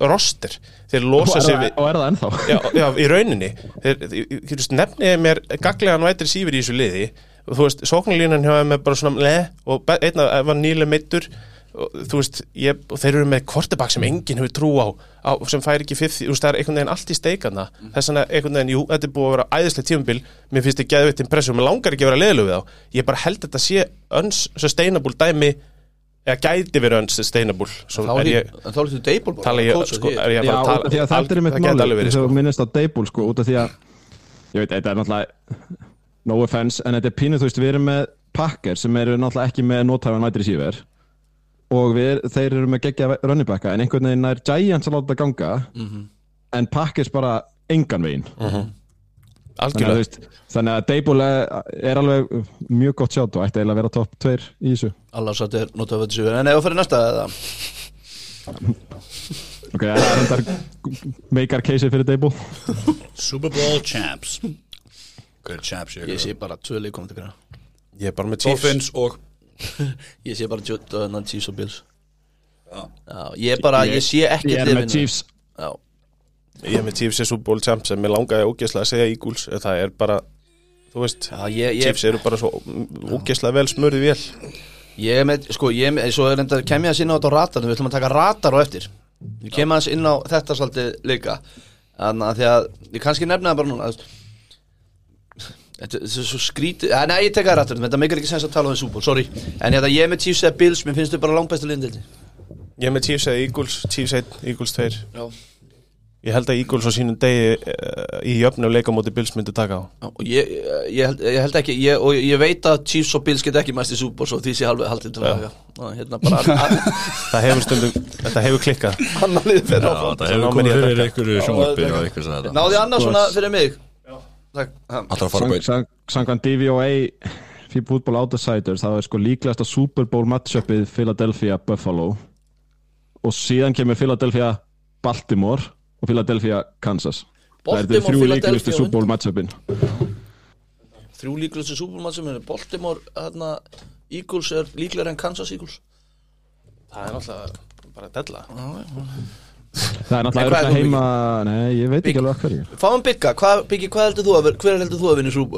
S2: roster þeir
S4: og
S2: losa
S4: er,
S2: sig
S4: það,
S2: við
S4: og er það ennþá
S2: já, já, í rauninni þeir, þeir, þeir, þeir, nefniði mér gaglegan vætir sífur í þessu liði og þú veist, sóknarlínan hjá þeim er bara svona le, og be- einn af ef hann nýlega meittur og þú veist, ég, og þeir eru með kvortabak sem enginn hefur trú á, á sem fær ekki fifth, þú veist, það er einhvern veginn allt í steikana þess vegna einhvern veginn, jú, þetta er búið að vera æðislega tímabil, mér finnst þið geðveitt impressum mér langar ekki að vera leðilegu við þá, ég bara held að þetta sé unsustainable dæmi eða gæti verið unsustainable svo
S3: þá
S2: er
S3: er
S2: ég,
S3: þá er þú deybol bara
S2: tala ég, sko, er ég að
S4: Já,
S2: fara að tala
S4: út af því að þetta er mitt
S2: það gæti alveg
S4: máli
S2: verið,
S4: eins
S2: sko
S4: og minnist á Dable sko, út af því að ég veit, þetta er náttúrulega no offense, en þetta er pínu, þú veist, við erum með pakker sem eru náttúrulega ekki með nothæfa nættri síver og við, þeir eru með geggja rönnibækka en einhvern veginn nær Giants að láta þetta ganga
S3: Mhm.
S4: en pakkers bara engan veginn þannig að, þú
S2: algjörlega
S4: veist, þannig að Deibúl er alveg mjög gott sjátt og ætti eiginlega að vera topp 2 í þessu
S3: Alla satt er notað að þetta séu En ef að fyrir næsta eða
S4: ok, það er endar meikar keisið fyrir Deibúl
S1: Super Bowl champs Good champs
S3: Ég sé bara tvö leik komið til greina
S2: Ég er bara með Chiefs
S1: Dolphins og
S3: Ég sé bara Jordan Chiefs og Bills
S1: Já.
S3: Já, ég bara, ég sé ekki
S4: ég er með Chiefs
S3: Já,
S2: Ég er með Chiefs er Super Bowl champ sem ég langaði ógeðslega að segja Eagles en það er bara, þú veist
S3: já ég, ég,
S2: Chiefs eru bara svo ógeðslega vel smörði vel
S3: ég er með, sko, ég er með Svo er enda, kem ég aðeins inn á þetta á ratarnum Við ætlum að taka ratar á eftir Við kem aðeins inn á þetta svolítið líka Þannig að því að, ég kannski nefna það bara núna þú veist. Þetta þetta er svo skrítið ja, Nei, ég tek að ratarnum, þetta meikar ekki sens að tala um súból, sorry En hérna, ég er með Chiefs eða Bills, mér finnst þau bara langbæstu lindildi
S2: Ég er með Chiefs eða Eagles, Chiefs 1, Eagles 2
S3: Já
S2: Ég held að Eagles á sínum degi uh, í jöfnu leikamóti Bills myndi taka á
S3: Já, og ég, ég, held, ég held ekki ég, og ég veit að Chiefs og Bills get ekki mæst í Super Bowl svo því sé halvið haldið til að hérna bara
S2: Það hefur stundum, þetta hefur klikkað
S3: annar lið fyrir
S5: Já,
S3: áfram
S5: það hefur
S2: Ná, menn
S5: komið
S2: ég
S5: fyrir
S2: þetta.
S5: ykkur sjónvarpi og ykkur sem þetta
S3: náði annars svona fyrir mig Takk. Ha,
S1: Alltaf að fara
S4: Sang-
S1: bæt
S4: sang- samkvæmt DVOA fyrir fútból outsiders þá er sko líklegast að Super Bowl matchupið Philadelphia Buffalo og síðan kemur Philadelphia Baltimore og Philadelphia Kansas það
S3: Baltimore,
S4: er þrjú
S3: Philadelphia
S4: líklegustu
S3: og
S4: Super Bowl matchupin
S3: þrjú líklustu Super Bowl sem er Baltimore hérna, Eagles er líklar en Kansas Eagles
S2: Það er náttúrulega bara að della
S4: það er
S3: En hvað
S4: náttúrulega
S3: er
S4: örugglega
S3: þú
S4: heima nei, ég veit
S3: Big-
S4: ekki alveg að hverju
S3: fáum Bigga, hvað, Biggi, hvað heldur þú að vera hver heldur þú að vinna í Super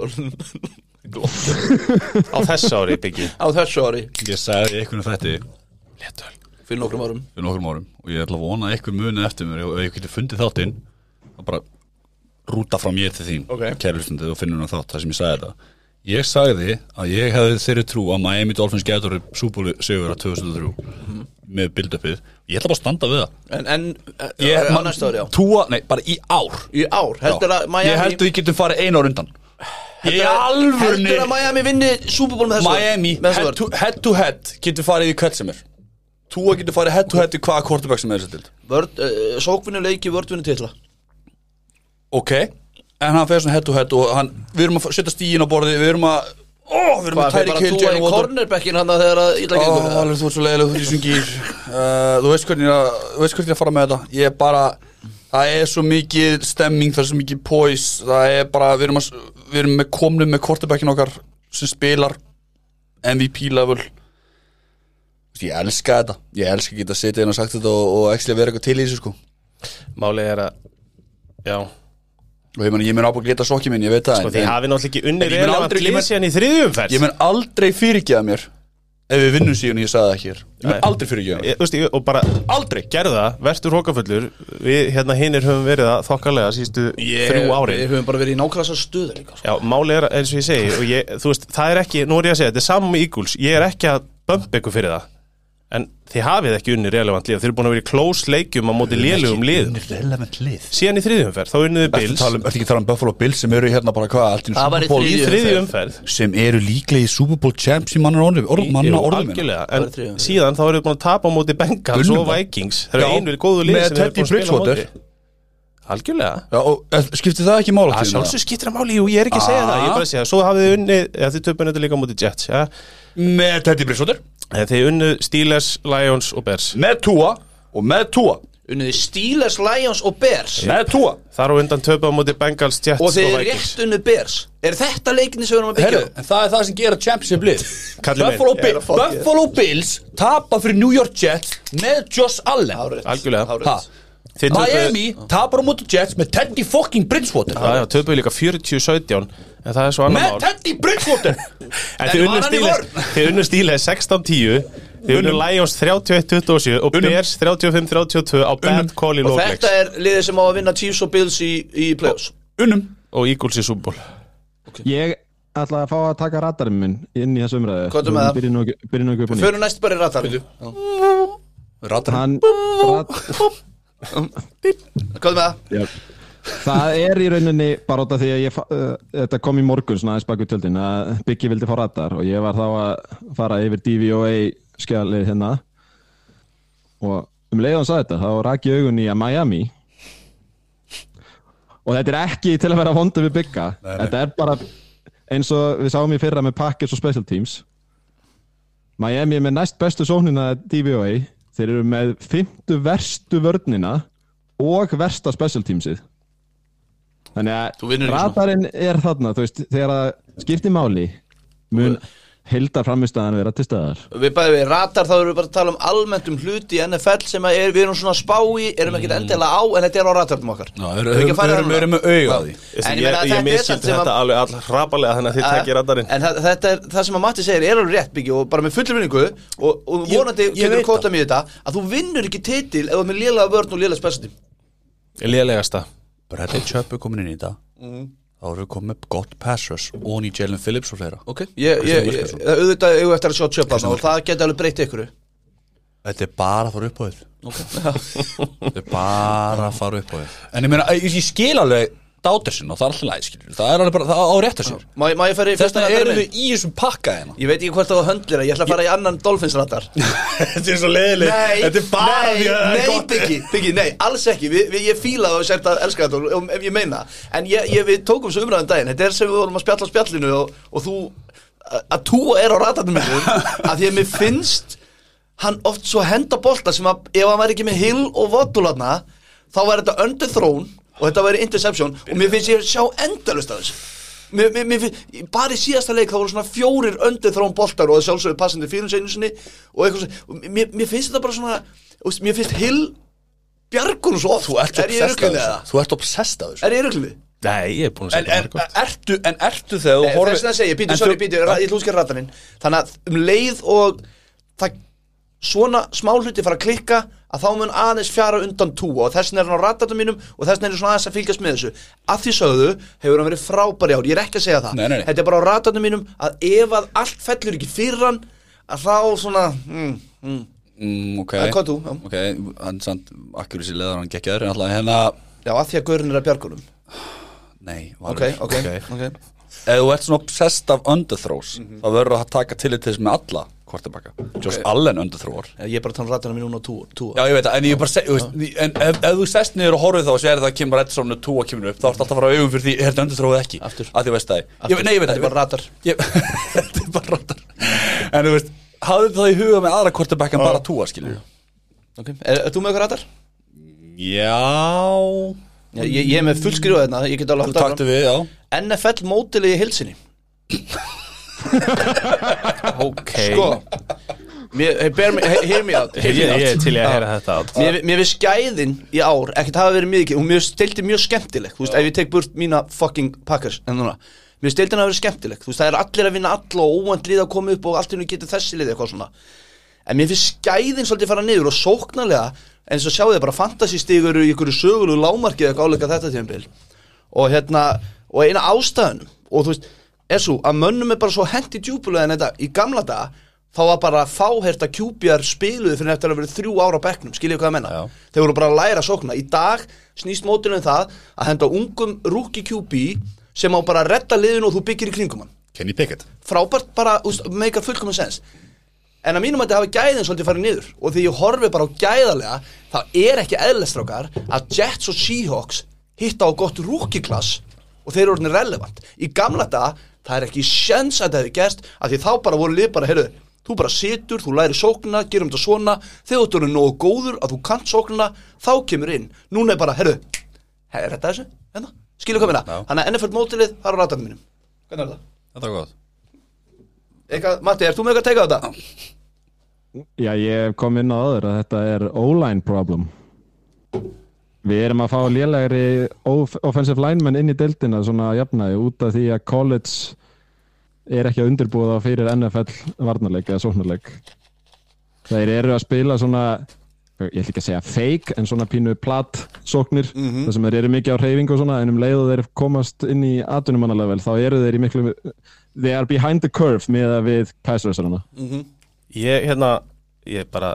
S3: Bowl
S2: Á þess ári byggi
S3: á þessu ári
S1: Ég sagði ykkur um þetta
S3: fyrir nokkrum árum
S1: fyrir nokkrum árum og ég ætla að vona að ykkur muni eftir mér og ef ég geti fundið þáttinn þá bara rúta frá mér til þín
S3: Ok.
S1: kærlustundið og finnur hann þátt það sem ég sagði þetta ég sagði að ég hefði þeirri trú að Miami Dolphins getur súbúli sigur að 2003 með build-upið ég ætla bara að standa við það
S3: en, en
S1: ég,
S3: á næsta ári já
S1: trúa, nei, bara í ár
S3: í ár, heldur
S1: Já.
S3: að Miami
S1: ég heldur við getum farið einu ár undan ég er alvörni
S3: heldur að Miami vinni Super Bowl með þessu
S1: Miami
S3: með þessu
S1: head
S3: vörn?
S1: to, head to head getur farið í hvert sem er Tua getur farið head to head í hvaða quarterback sem er þessi dild
S3: Vörd, uh, sókvinni leiki, vördvinni titla
S1: ok, en hann fer svona head to head og hann, við erum að setja stíin á borði við erum að, ó, við erum
S3: Hvað,
S1: að
S3: þeir
S1: tæri
S3: bara
S1: kill
S3: túa í
S1: Jalen Waddle.
S3: cornerbackin hann þegar að
S1: Ó,
S3: illa gengur eða?
S1: alveg þú ert svo leiðileg, þú ert í þessum gýr uh, þú veist hvernig að, þú veist hvernig að fara með þetta ég er bara, það er svo mikið stemming, það er svo mikið poise það er bara, við erum, að, við erum með komnum með quarterbackin okkar sem spilar MVP level ég elska þetta ég elska að geta að setja inn og sagt þetta og, og ekki að vera eitthvað til í þessu sko
S2: Málið er að Já,
S1: og ég meina, ég mun ábúið að geta sokkið minn, ég veit það
S2: sko
S1: en-
S2: því
S1: en-
S2: hafi náttúrulega ekki
S1: En
S2: unnið
S1: ég mun
S2: relevant
S1: aldrei- ég
S2: lið
S1: mun-
S2: síðan í þriðjumferð
S1: Ég mun aldrei fyrirgeða mér Ef við vinnum síðan ég sagði það hér Ég mun
S2: Nei.
S1: aldrei fyrirgeða mér
S2: Ég- þú veist, ég- og bara aldrei gerðu það, verður rókafullur við hérna hinnir höfum verið það þokkalega sístu
S1: Ég-
S2: þrjú árin
S3: Við höfum bara verið í nákvæmlega svo stuða líka sko.
S2: Já, máli er eins og ég segi og ég, þú veist, það er ekki, nú er ég að segja þetta er saman með Eagles, ég er ekki að bömpa ykkur fyrir það en þið hafið ekki unni relevant lið, þið eru búin að vera í close leikjum á móti lélugum lið,
S1: relevant lið
S2: síðan í þriðjumferð þá unniðu
S1: Ertu
S2: um Bills,
S1: að tala um- ertu ekki að tala um Buffalo Bills sem eru hérna bara hvað allt í einu
S3: Það var í
S1: Super Bowl-
S2: í
S3: þriðju
S2: þriðjumferð
S1: Sem eru líklega í Super Bowl champs í mann og orðum Orðum mann og orðum minna.
S2: algjörlega,
S3: Það var í þriðju
S2: en
S3: umferð.
S2: síðan þá eru þið búin að tapa á móti Bengals
S1: Unnum
S2: og
S1: það.
S2: Vikings, það eru
S1: Já,
S2: einu góðu lið
S1: með
S2: sem þið eru
S1: Teddy
S2: búin að spila á móti
S1: Bridgewater.
S2: algjörlega
S1: Já, og eh, skiptir það ekki mála
S2: að sjálfsög skiptir að máli, jú, ég er ekki að segja
S1: Ah.
S2: það ég er bara að segja, svo hafið þið unni, ja, þið töpun þetta líka á móti Jets, ja, Eh,
S1: Með Teddy Bridgewater
S2: þið unnu Steelers, Lions og Bears
S1: Með Tua Og með Tua
S3: Unniði Steelers, Lions og Bears
S1: Með Tua
S2: Þar á undan töpa á móti Bengals, Jets
S3: Og
S2: og,
S3: þeir eru
S2: Sko, Vikings
S3: rétt unnið Bears Er þetta leikinni sem við erum að byggja
S1: Herru, en það er það sem gera championship lið
S2: Kallið minn.
S1: Buffalo,
S2: Ég
S1: Bill, Buffalo Bills tapa fyrir New York Jets með Josh Allen
S3: Hárrétt.
S2: Algjörlega.
S1: Ha,
S3: Hárrétt.
S2: Þeir töpuðu-
S1: Miami tapar á móti Jets með Teddy fucking Bridgewater
S2: Já, já, töpuðu líka 40-17 En það er svo annar
S1: með
S2: mál
S1: Teddy Bridgewater
S2: En þeir
S3: var
S2: unnu
S3: hann í
S2: Steelers- þeir unnu stílega 16-10 Þeir unnu Lions 31-27 Og Bears 35-32 á Bad Call í
S3: Og þetta
S2: Lókleiks
S3: er liðið sem á að vinna Chiefs og Bills í, í playoffs
S1: unnum
S2: Og Eagles í Súból
S4: ég ætla að fá að taka ratarinn minn inn í þessu umræðu
S3: Hvað er með það?
S4: byrjum nú ekki- byrjum nú
S2: mm.
S4: ekki upp á nýtt
S3: Förum næst bara í ratar Hvað
S1: Rattar
S4: hann rat,
S3: er með það?
S4: já, Það er í rauninni bara út af því að ég, fa- uh, þetta kom í morgun svona aðeins baku tjöldin að Byggi vildi fá radar og ég var þá að fara yfir DVOA skjalið hérna og um leiðan sagði þetta þá rak ég augun í að Miami og þetta er ekki til að vera vondu við Bygga þetta er bara eins og við sáum í fyrra með Packers og Special Teams Miami er með næst bestu sóknina DVOA þeir eru með fymtu verstu vörnina og versta Special Teamsið Þannig
S1: Þú
S4: að
S1: vinnur ekki svona.
S4: radarinn er þarna þú veist, þegar að skipti máli mun heldar framistæðan vera til staðar
S3: Við bæðum við ratar, þá erum við bara að tala um almennt um hluti í NFL sem að er, við erum svona að spá í, erum
S2: Mm.
S3: ekkert endilega á, en þetta er á ratarnum okkar.
S1: Já,
S3: Erum
S1: erum-
S3: við ekki að fara
S1: erum-
S3: þarna?
S1: erum með auga á því.
S3: Já.
S2: Ég, ég,
S3: En ég
S2: ég, ég
S3: meina þetta er samt
S2: miskildi
S3: sem
S2: þetta
S3: að...
S2: alveg allra hrapalega þannig að þið takkir radarinn
S3: En það- þetta er, það sem að Matti segir er alveg rétt byggju og bara með fullur vinningu og, og
S2: Ég-
S3: vonandi
S2: ég
S3: getur
S2: veit
S3: þú kóta mér þetta að þú vinnur ekki titil ef þú er með lélega vörn og lélega spesatím
S2: Lélegasta
S1: Bradley Chubb er komin inn í þetta þá erum við komin með gott pass rush og ný Jalen Phillips og fleira
S3: Ok, ég, ég, ég,
S1: Wilkerson.
S3: auðvitað eigum við eftir að sjá tjöpa og það getur alveg breytt ykkur
S1: Þetta er bara að fara upp á þér Þetta er bara að fara upp á þér En ég meina, ég, ég skil alveg dátersinn og það er alltaf læg, skilur Það er alveg bara, það á rétt að sér
S3: Má, ég- má ég fara í fyrsta
S1: Þessna erum
S3: ratarinn minn?
S1: við í þessum pakka hérna
S3: Ég veit ekki hvort það var höndlir að ég ætla að fara í annan Dolphins ratar
S1: Þetta er svo leiðileg
S3: Nei, nei, nei,
S1: gott.
S3: byggi, byggi, nei, alls ekki við, við, Ég fíla það og sér þetta elska þetta og- og- ef ég meina það. En ég, ég, við tókum svo umræðan daginn Þetta er sem við vorum að spjalla á spjallinu og, og þú, að- að tú er á ratarnum minn að því að mér finnst hann oft svo henda bolta sem að ef hann væri ekki með Hill og Votularna þá væri þetta under throne og þetta væri interception og mér finnst ég sjá endalust af þessu Mér, mér, mér, finn- bara í síðasta leik þá voru svona fjórir öndu þrón boltar og að sjálfsögðu passandi fyrir einu sinni og eitthvað svona, og mér, mér finnst þetta bara svona þú veist, mér finnst Hill bjargun svo oft
S1: Þú ert
S3: er ég
S1: obsessed af
S3: rugglið
S1: þessu
S3: það
S1: Þú ert obsessed af þessu sko,
S3: er ég rugglið
S2: Nei, ég er búin að
S1: En,
S2: segja
S1: en, ertu, en ertu þegar þú horfir-
S3: Eh, þess að segja, býtu,
S1: En
S3: sorry,
S1: þú-
S3: býtu, ra- ég hlúskar rataninn þannig að um leið og það svona smá hluti fara að klikka að þá mun aðeins fjara undan tú og þessin er hann á ratatum mínum og þessin er ég svona aðeins að fylgjast með þessu að því sögðu hefur hann verið frábær í ár ég er ekki að segja það,
S1: Nei, nei, nei.
S3: þetta er bara á ratatum mínum að ef að allt fellur ekki fyrir hann að þá svona mm, mm,
S1: Mm, ok,
S3: Eh, hvað þú, já.
S1: ok, hann samt akkur þessi leðar hann gekkjaður en alltaf hérna,
S3: já að því að gaurin er að bjargunum
S1: nei,
S3: ok,
S1: Valur,
S3: ok, okay.
S1: ef þú ert svona obsessed af underthrows
S3: Mhm.
S1: þá verður það að taka tillit til þess með alla kvartabaka, Josh Allen underthróar
S3: ég er bara að tala um ratanum mínum núna á tú, tú.
S1: Já, ég veit það, en ég bara seg, þú veist, en ef, ef þú sest niður og horfið þá og sér það að kemur Edson og Tua kemur upp þá ertu alltaf að fara á augum fyrir því, er þetta underthróið ekki
S3: Aftur.
S1: að því veist það, ég, nei, ég veit
S3: Þetta er bara ratar.
S1: ég, Þetta er bara ratar En þú veist, hafðu það í huga með aðra kvartabakkan bara Tua, skilur
S3: okay. er, er þú með okkur ratar?
S1: Já,
S3: Ég, ég ég er með fullskriðu þetta, ég get alveg
S1: þú
S3: haldið áfram.
S1: taktu við, já
S3: NFL mótilið í hilsinni
S2: Ok
S3: Sko Mér, hey, bear, me- hey, hear me out hear
S2: Ég
S3: me out.
S2: ég er til í að heyra þetta át
S3: Mér, mér við skæðin í ár ekkert hafa verið mikið, hún mér stilti mjög skemmtileg þú veist, ef ég tek burt mína fucking pakkars en núna, mér stilti hann að vera skemmtileg þú veist, það er allir að vinna alla og óvænt lið að koma upp og allt henni getur þessi lið eitthvað svona en mér finnst skæðin svolítið fara niður og sóknarlega eins og sjáu þið bara fantasístígur eru í ykkur sögulegu lámarki eða eitthvað áleika þetta tíðanbíl og hérna, og eina ástæðunum og þú veist, er svo að mönnum er bara svo hendi djúpulega en þetta í gamla daga þá var bara fáhert að kjúpjar spiluðu fyrir eftir að vera þrjú ára á bekknum, skiljið hvað að menna
S1: Já.
S3: þeir voru bara að læra að sókna, í dag snýst mótinu um það að henda ungum rúki kjúpi sem á bara að retta liðinu og þú byggir í kringum hann
S1: Kenny Pickett
S3: frábært bara, úst, meikar fullkomum sens en að mínum að þetta hafa gæðin svolítið farið niður og því ég horfi bara á gæðarlega þá er ekki eðlestrákar að Jets og Seahawks hitta á gott rúkiklass og þeir eru orðin relevant í gamla dag, það er ekki sjens að þetta hefði gerst að því þá bara voru lið bara, heyrðu þú bara situr, þú læri sóknina, gerum þetta svona þegar þú eru nógu góður að þú kant sóknina, þá kemur inn núna er bara, heyrðu, er þetta þessu? Hérna? skilu hvað minna,
S1: Já.
S3: hann er NFL mótilið, það er á ratarnum mínum hvernig er það?
S1: Þetta er gott
S3: Eitthvað, Matti, er þú með eitthvað að teka á þetta?
S4: Já, ég kom inn á öður að þetta er O-line problem Við erum að fá lélegri of- offensive linemen inn í deildina svona að jafnaði út af því að college er ekki að undirbúða fyrir NFL varnarleik eða sóknarleik Þeir eru að spila svona ég ætla ekki að segja fake en svona pínu plat sóknir þar sem þeir eru mikið á reyfingu og svona en um leiðu þeir komast inn í atvinnumannalegvel þá eru þeir í miklu they are behind the curve með að við pæsröðsarana
S2: Ég hérna Ég bara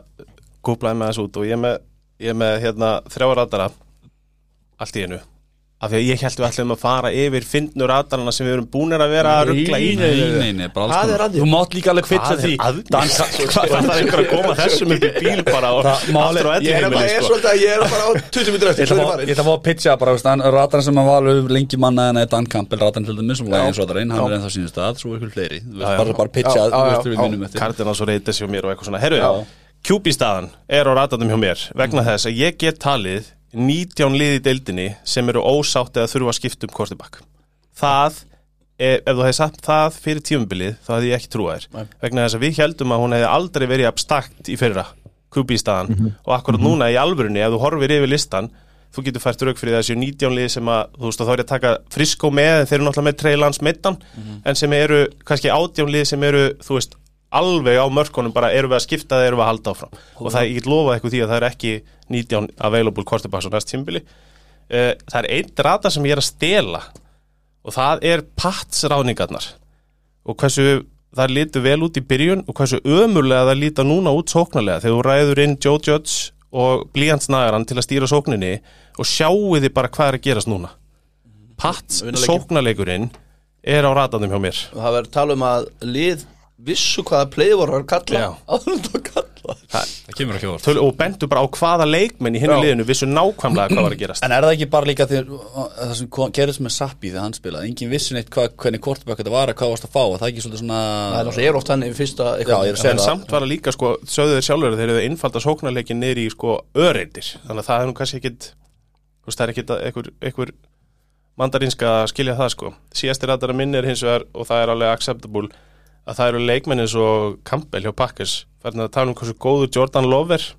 S2: Gooplaði með þessu út og ég er með Ég er með hérna þrjá radara Allt í einu af því að ég held við ætlum að fara yfir fyndnur aðdalana sem við erum búinir að vera að ruggla í
S1: Nei, nei, nei, bara alls
S3: Hvað er
S1: konar
S3: að þér?
S1: Þú mátt líka alveg kvitsa því
S2: Dan, hvað þarf einhver að koma þessum upp í bíl bara og aftur á sko.
S3: Ég er
S2: ellinni
S3: bara, ég er svolítið að ég er bara á 20 minnur
S1: Ég
S3: eftir,
S1: ætla
S3: svo er sko.
S1: að fá- ég ætla
S3: ég farin
S1: að fá að pitcha bara, veist, hann ratan sem hann var alveg lengi manna en Dan Campbell ratan til dæmis og Lions ratan, hann er ennþá sínust að, svo ykkur fleiri Þú veist, bara, bara pitcha,
S3: Já, já,
S1: þú veist,
S3: já,
S1: við minnum eftir
S2: Cardinals og reyta sér mér og eitthvað svona
S1: Já.
S2: Herru, QB staðan er á ratanum hjá mér vegna þess að ég get talið 19 lið í deildinni sem eru ósátt eða þurfa að skipta um kortibak Það, er, ef þú hefði sagt það fyrir tímumbilið, þá hefði ég ekki trúa þér vegna þess að við heldum að hún hefði aldrei verið abstrakt í fyrra, QB staðan og akkurat núna í alvörunni, ef þú horfir yfir listan þú getur fært rauk fyrir þessu 19 lið sem að, þú veist, að þá er ég að taka friskó með en þeir eru náttúrulega með treylands meittan en sem eru, kannski 18 lið sem eru, þú veist, alveg á mörkunum bara erum við að skipta það, erum við að halda áfram og það, ég get lofað eitthvað því að það er ekki 19 available quarterbacks á næst tímbili uh, það er einn rata sem ég er að stela og það er patsráningarnar og hversu það lítur vel út í byrjun og hversu ömurlega það lítur núna út sóknarlega þegar þú ræður inn Joe Judge og Blíjansnægaran til að stýra sókninni og sjáu þið bara hvað er að gerast núna pats sóknarleikurinn er á ratanum hjá mér
S3: Það verður tala um að lið vissu hvaða playvorar kalla
S2: Já.
S3: Áður þú kalla
S1: Það kemur ekki orð
S2: töl, og bentu bara á hvaða leikmenn í hinu
S1: Já.
S2: liðinu vissu nákvæmlega hvað var að gerast
S1: En er það ekki bara líka þegar það sem kom- gerðist með Sappi þegar hann spilaði, engin vissin eitt hvað, hvernig kortbæk þetta var að hvað varst að fá, að það er ekki svolítið svona
S3: Það er náttúrulega, ég er oft hann í fyrsta eitthvað.
S1: Já, ég er að segja
S2: en
S1: það.
S2: samt var það líka sko, sögðu þeir sjálfur að þeir eru einfalda sóknarleikin niður í sko öreindir þannig að það er nú kannski ekkit þú veist, það er ekkit að einhver, einhver mandarinska að skilja það sko síðasti rættara minn er hins vegar og það er alveg acceptable að það eru leikmenn eins og Campbell hjá Packers þannig að tala um hversu góður Jordan Love er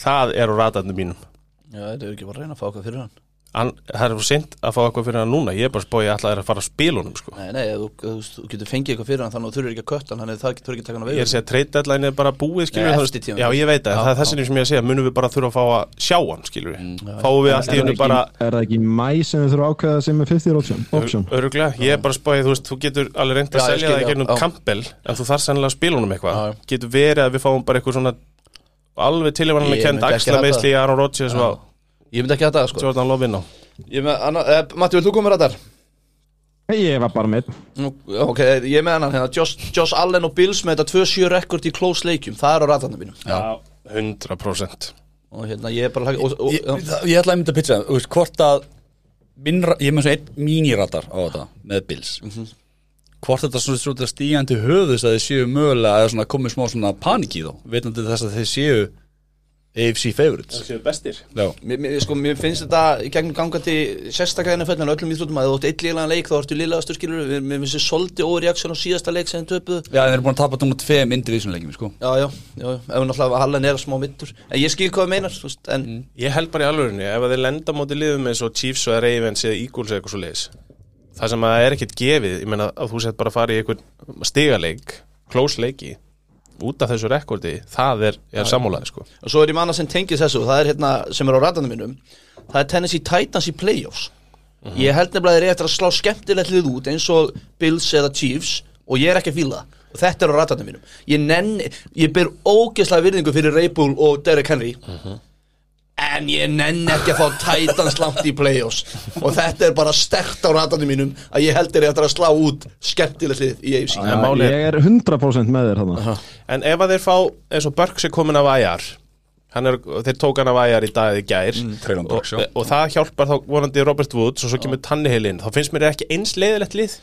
S2: það er á rætarnum mínum
S3: Já, þetta er ekki bara að reyna að fá okkar fyrir hann
S2: Hann, það er sent að fá eitthvað fyrir hann núna ég er bara spóið að ætla að fara að spila honum sko.
S3: Nei, nei, ef þú, ef þú, þú getur fengið eitthvað fyrir hann þannig að þú þurfir ekki að kött hann þannig að það getur ekki að taka hann að
S2: Ég er
S3: veið
S2: að segja að trade deadline er bara búið skilur
S3: Nei,
S2: við,
S3: eftir
S2: það,
S3: tímabilið.
S2: Já, ég veit að
S3: Já,
S2: það er
S3: já. Mm,
S2: þess vegna sem ég að segja munum við bara þurfa að fá að sjá hann skilur við Fáum við allt í
S4: Er það
S2: hennu
S4: ekki-
S2: bara
S4: Er það ekki mæ sem þau þurfa að ákveða sem er 50 option? option.
S2: öruglega, ég er bara spáið, þú veist, þú getur alveg reynd
S3: Já,
S2: að
S3: ég
S2: selja
S3: skil,
S2: það í
S3: já,
S2: gegnum
S3: já.
S2: Campbell en þú þarf sennilega að spila honum
S3: Já, já.
S2: eitthvað Getur verið að við fáum bara eitthvað svona alveg tilvæmlega
S3: Ég
S2: kend
S3: myndi ekki
S2: Axla
S3: hafa það.
S2: meðsli í Aaron Rodgers og
S3: Ég myndi ekki að það, sko
S2: Jordan Love inn á
S3: Ég er með annan, eh, Matti, vil þú koma með rættar?
S4: Nei, Ég var bara með
S3: Nú, já, Ok, ég er með annan hérna Josh, Josh Allen og Bills með þetta 2-7 rekord í close leikjum Það er á rættarnum mínum
S2: Já, 100%
S3: Og hérna, ég er bara og, og,
S1: ég,
S3: og,
S1: það- ég ætla einmitt að pitcha, þú veist, hvort að minn, ra- ég er með svo einn míniratar á þetta með Bills hvort þetta svona, svona stígandi höfðus að þið séu mögulega eða svona komið smá svona panik í þá vitandi þess að þið séu AFC favorites
S2: séu bestir
S1: Já,
S3: Mér, mér, sko, mér finnst þetta í gegnum gangandi sérstaklega NFL en öllum íþrótum að ef þú átt eitt lélagan leik þá ertu lélagastur skilur mér, mér finnst þið svolítið óreaksjón á síðasta leik sem þið töpuðu
S1: já þeir eru búin að tapa tóma tveim indivísunleikjum sko
S3: Já, já, já, já, ef náttúrulega Allen er smá mittur En ég skil hvað það meinar, þú veist, en
S2: Ég held bara í alvörunni, ef að þeir lenda á móti liðum eins og Chiefs og Ravens eða Eagles eða eitthvað svo leiðis Það sem að það er ekkert gefið, ég meina að þú sett bara að fara í einhvern stigaleik, close leiki út af þessu rekordi, það er, er sammálaði sko
S3: Og svo er ég manna sem tengið þessu, það er hérna sem er á ratanum minnum Það er Tennessee Titans í playoffs Ég held nefnilega að þeir eru eftir að slá skemmtilegt lið út eins og Bills eða Chiefs og ég er ekki að fíla það og þetta er á ratanum mínum Ég nenni, ég ber ógeðslega virðingu fyrir Raybull og Derek Henry En ég nenn ekki að fá Titans langt í playoffs og þetta er bara stert á ratanum mínum að ég held þeir eru eftir að slá út skemmtilegt lið í AFC
S2: En málið er-
S4: Ég er 100% með þér þarna
S2: En ef að þeir fá, eins og Burks er komin af IR hann er, þeir tók hann af IR í dagið í gær
S1: Traylon
S2: og,
S1: Burks, já.
S2: og það hjálpar þá vonandi Robert Woods og svo kemur Tannehill inn, þá finnst mér ekki eins leiðilegt lið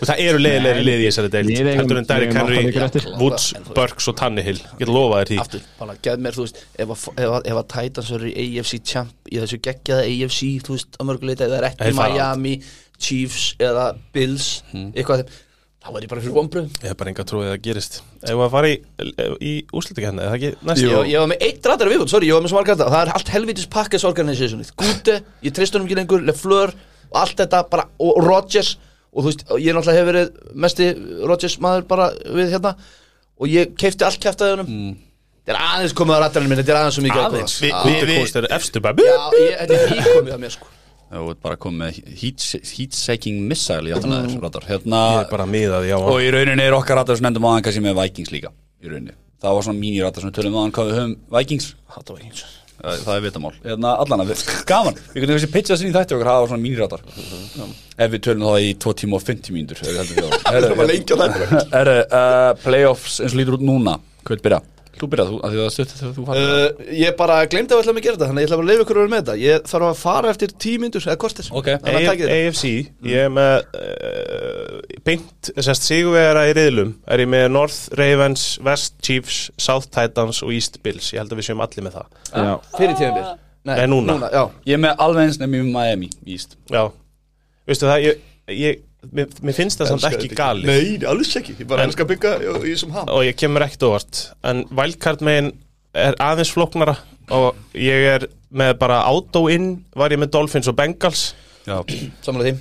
S2: og það eru leiðilegri lið í þessari deild
S4: Við eigum-
S2: heldur en Derrick
S4: við eigum alltaf ykkur
S2: Henry,
S4: eftir.
S2: Woods, Burks og Tannehill ég get lofa þér því
S3: aftur, bara geð mér, þú veist ef að, ef að, ef að Titans verður í AFC champ í þessu geggjaða AFC, þú veist, að mörguleita eða er ekki
S2: Þeir fara Hmm.
S3: Miami, Chiefs eða Bills, eitthvað af þeim, þá var ég bara fyrir vonbröðum
S2: ég hef bara enga trúið að það gerist ef að fara í, í úslitakenni, eða ekki næst
S3: ég, ég var með eitt ratar viðbútt, sorry, ég var með svo margar ratar. það er allt helvitis pakkes organisationið Gute, ég treyst honum ekki lengur, Lefleur og allt þetta, bara, og Rodgers og þú veist, ég náttúrulega hef verið mesti Rodgers maður bara við hérna og ég keipti allt kæftið honum mm. þetta er aðeins komið á ratarinn minni, þetta er aðeins svo mikið að
S2: Hmm. aðeins,
S3: góða.
S2: við,
S3: Já.
S2: við, við, við, efstu bara
S3: Já, ég, þetta er íkomið að mér sko
S1: Já, og bara komið með heat- heat-shaking missile í áttan aðeins radar Mm. hérna,
S2: ég er bara miðað, já
S1: og í rauninni er okkar radar sem nefndum um aðan kannski með Vikings líka í rauninni það var svona míniratar sem við tölum aðan hvað við höfum Vikings
S3: Hata Vikings
S1: Það það er vitamál Eðna, Allan að við, gaman Við kunum þessi pitcha sinni í þætti okkar hafa svona míniráttar Ef við tölum það í 2 tíma og 50 mínútur ef Við heldum Mhm. við það.
S3: erum að lengja það
S1: Herru, uh, playoffs eins og lítur út núna Hvað vil byrja? Eh, Þú byrja, þú, að því það er stutt þegar þú fara
S3: Uh, ég bara glemdi að við ætlum að gera þetta Þannig að ég ætla bara að leifa ykkur að vera með þetta Ég þarf að fara eftir tímyndur eða kortir
S1: Ok.
S3: Þannig að takið þetta
S2: AFC, ég er með uh, beint, sérst Sigurvegara í riðlum er ég með North Ravens, West Chiefs South Titans og East Bills ég held að við séum allir með það
S4: Já,
S3: Fyrir tímyndur
S2: Nei, núna.
S3: já.
S1: Ég er með alveg eins nefnum í Miami East
S2: Já, veistu það, ég, ég mér, mér finnst það samt
S3: Elskar
S2: ekki
S3: þetta
S2: galið
S3: Nei, alls ekki Ég bara elskar að bygga í í þessum ham
S2: og ég kemur ekkert óvart en wildcard megin er aðeins flóknara og ég er með bara auto in var ég með Dolphins og Bengals
S1: Já
S3: Samanlega því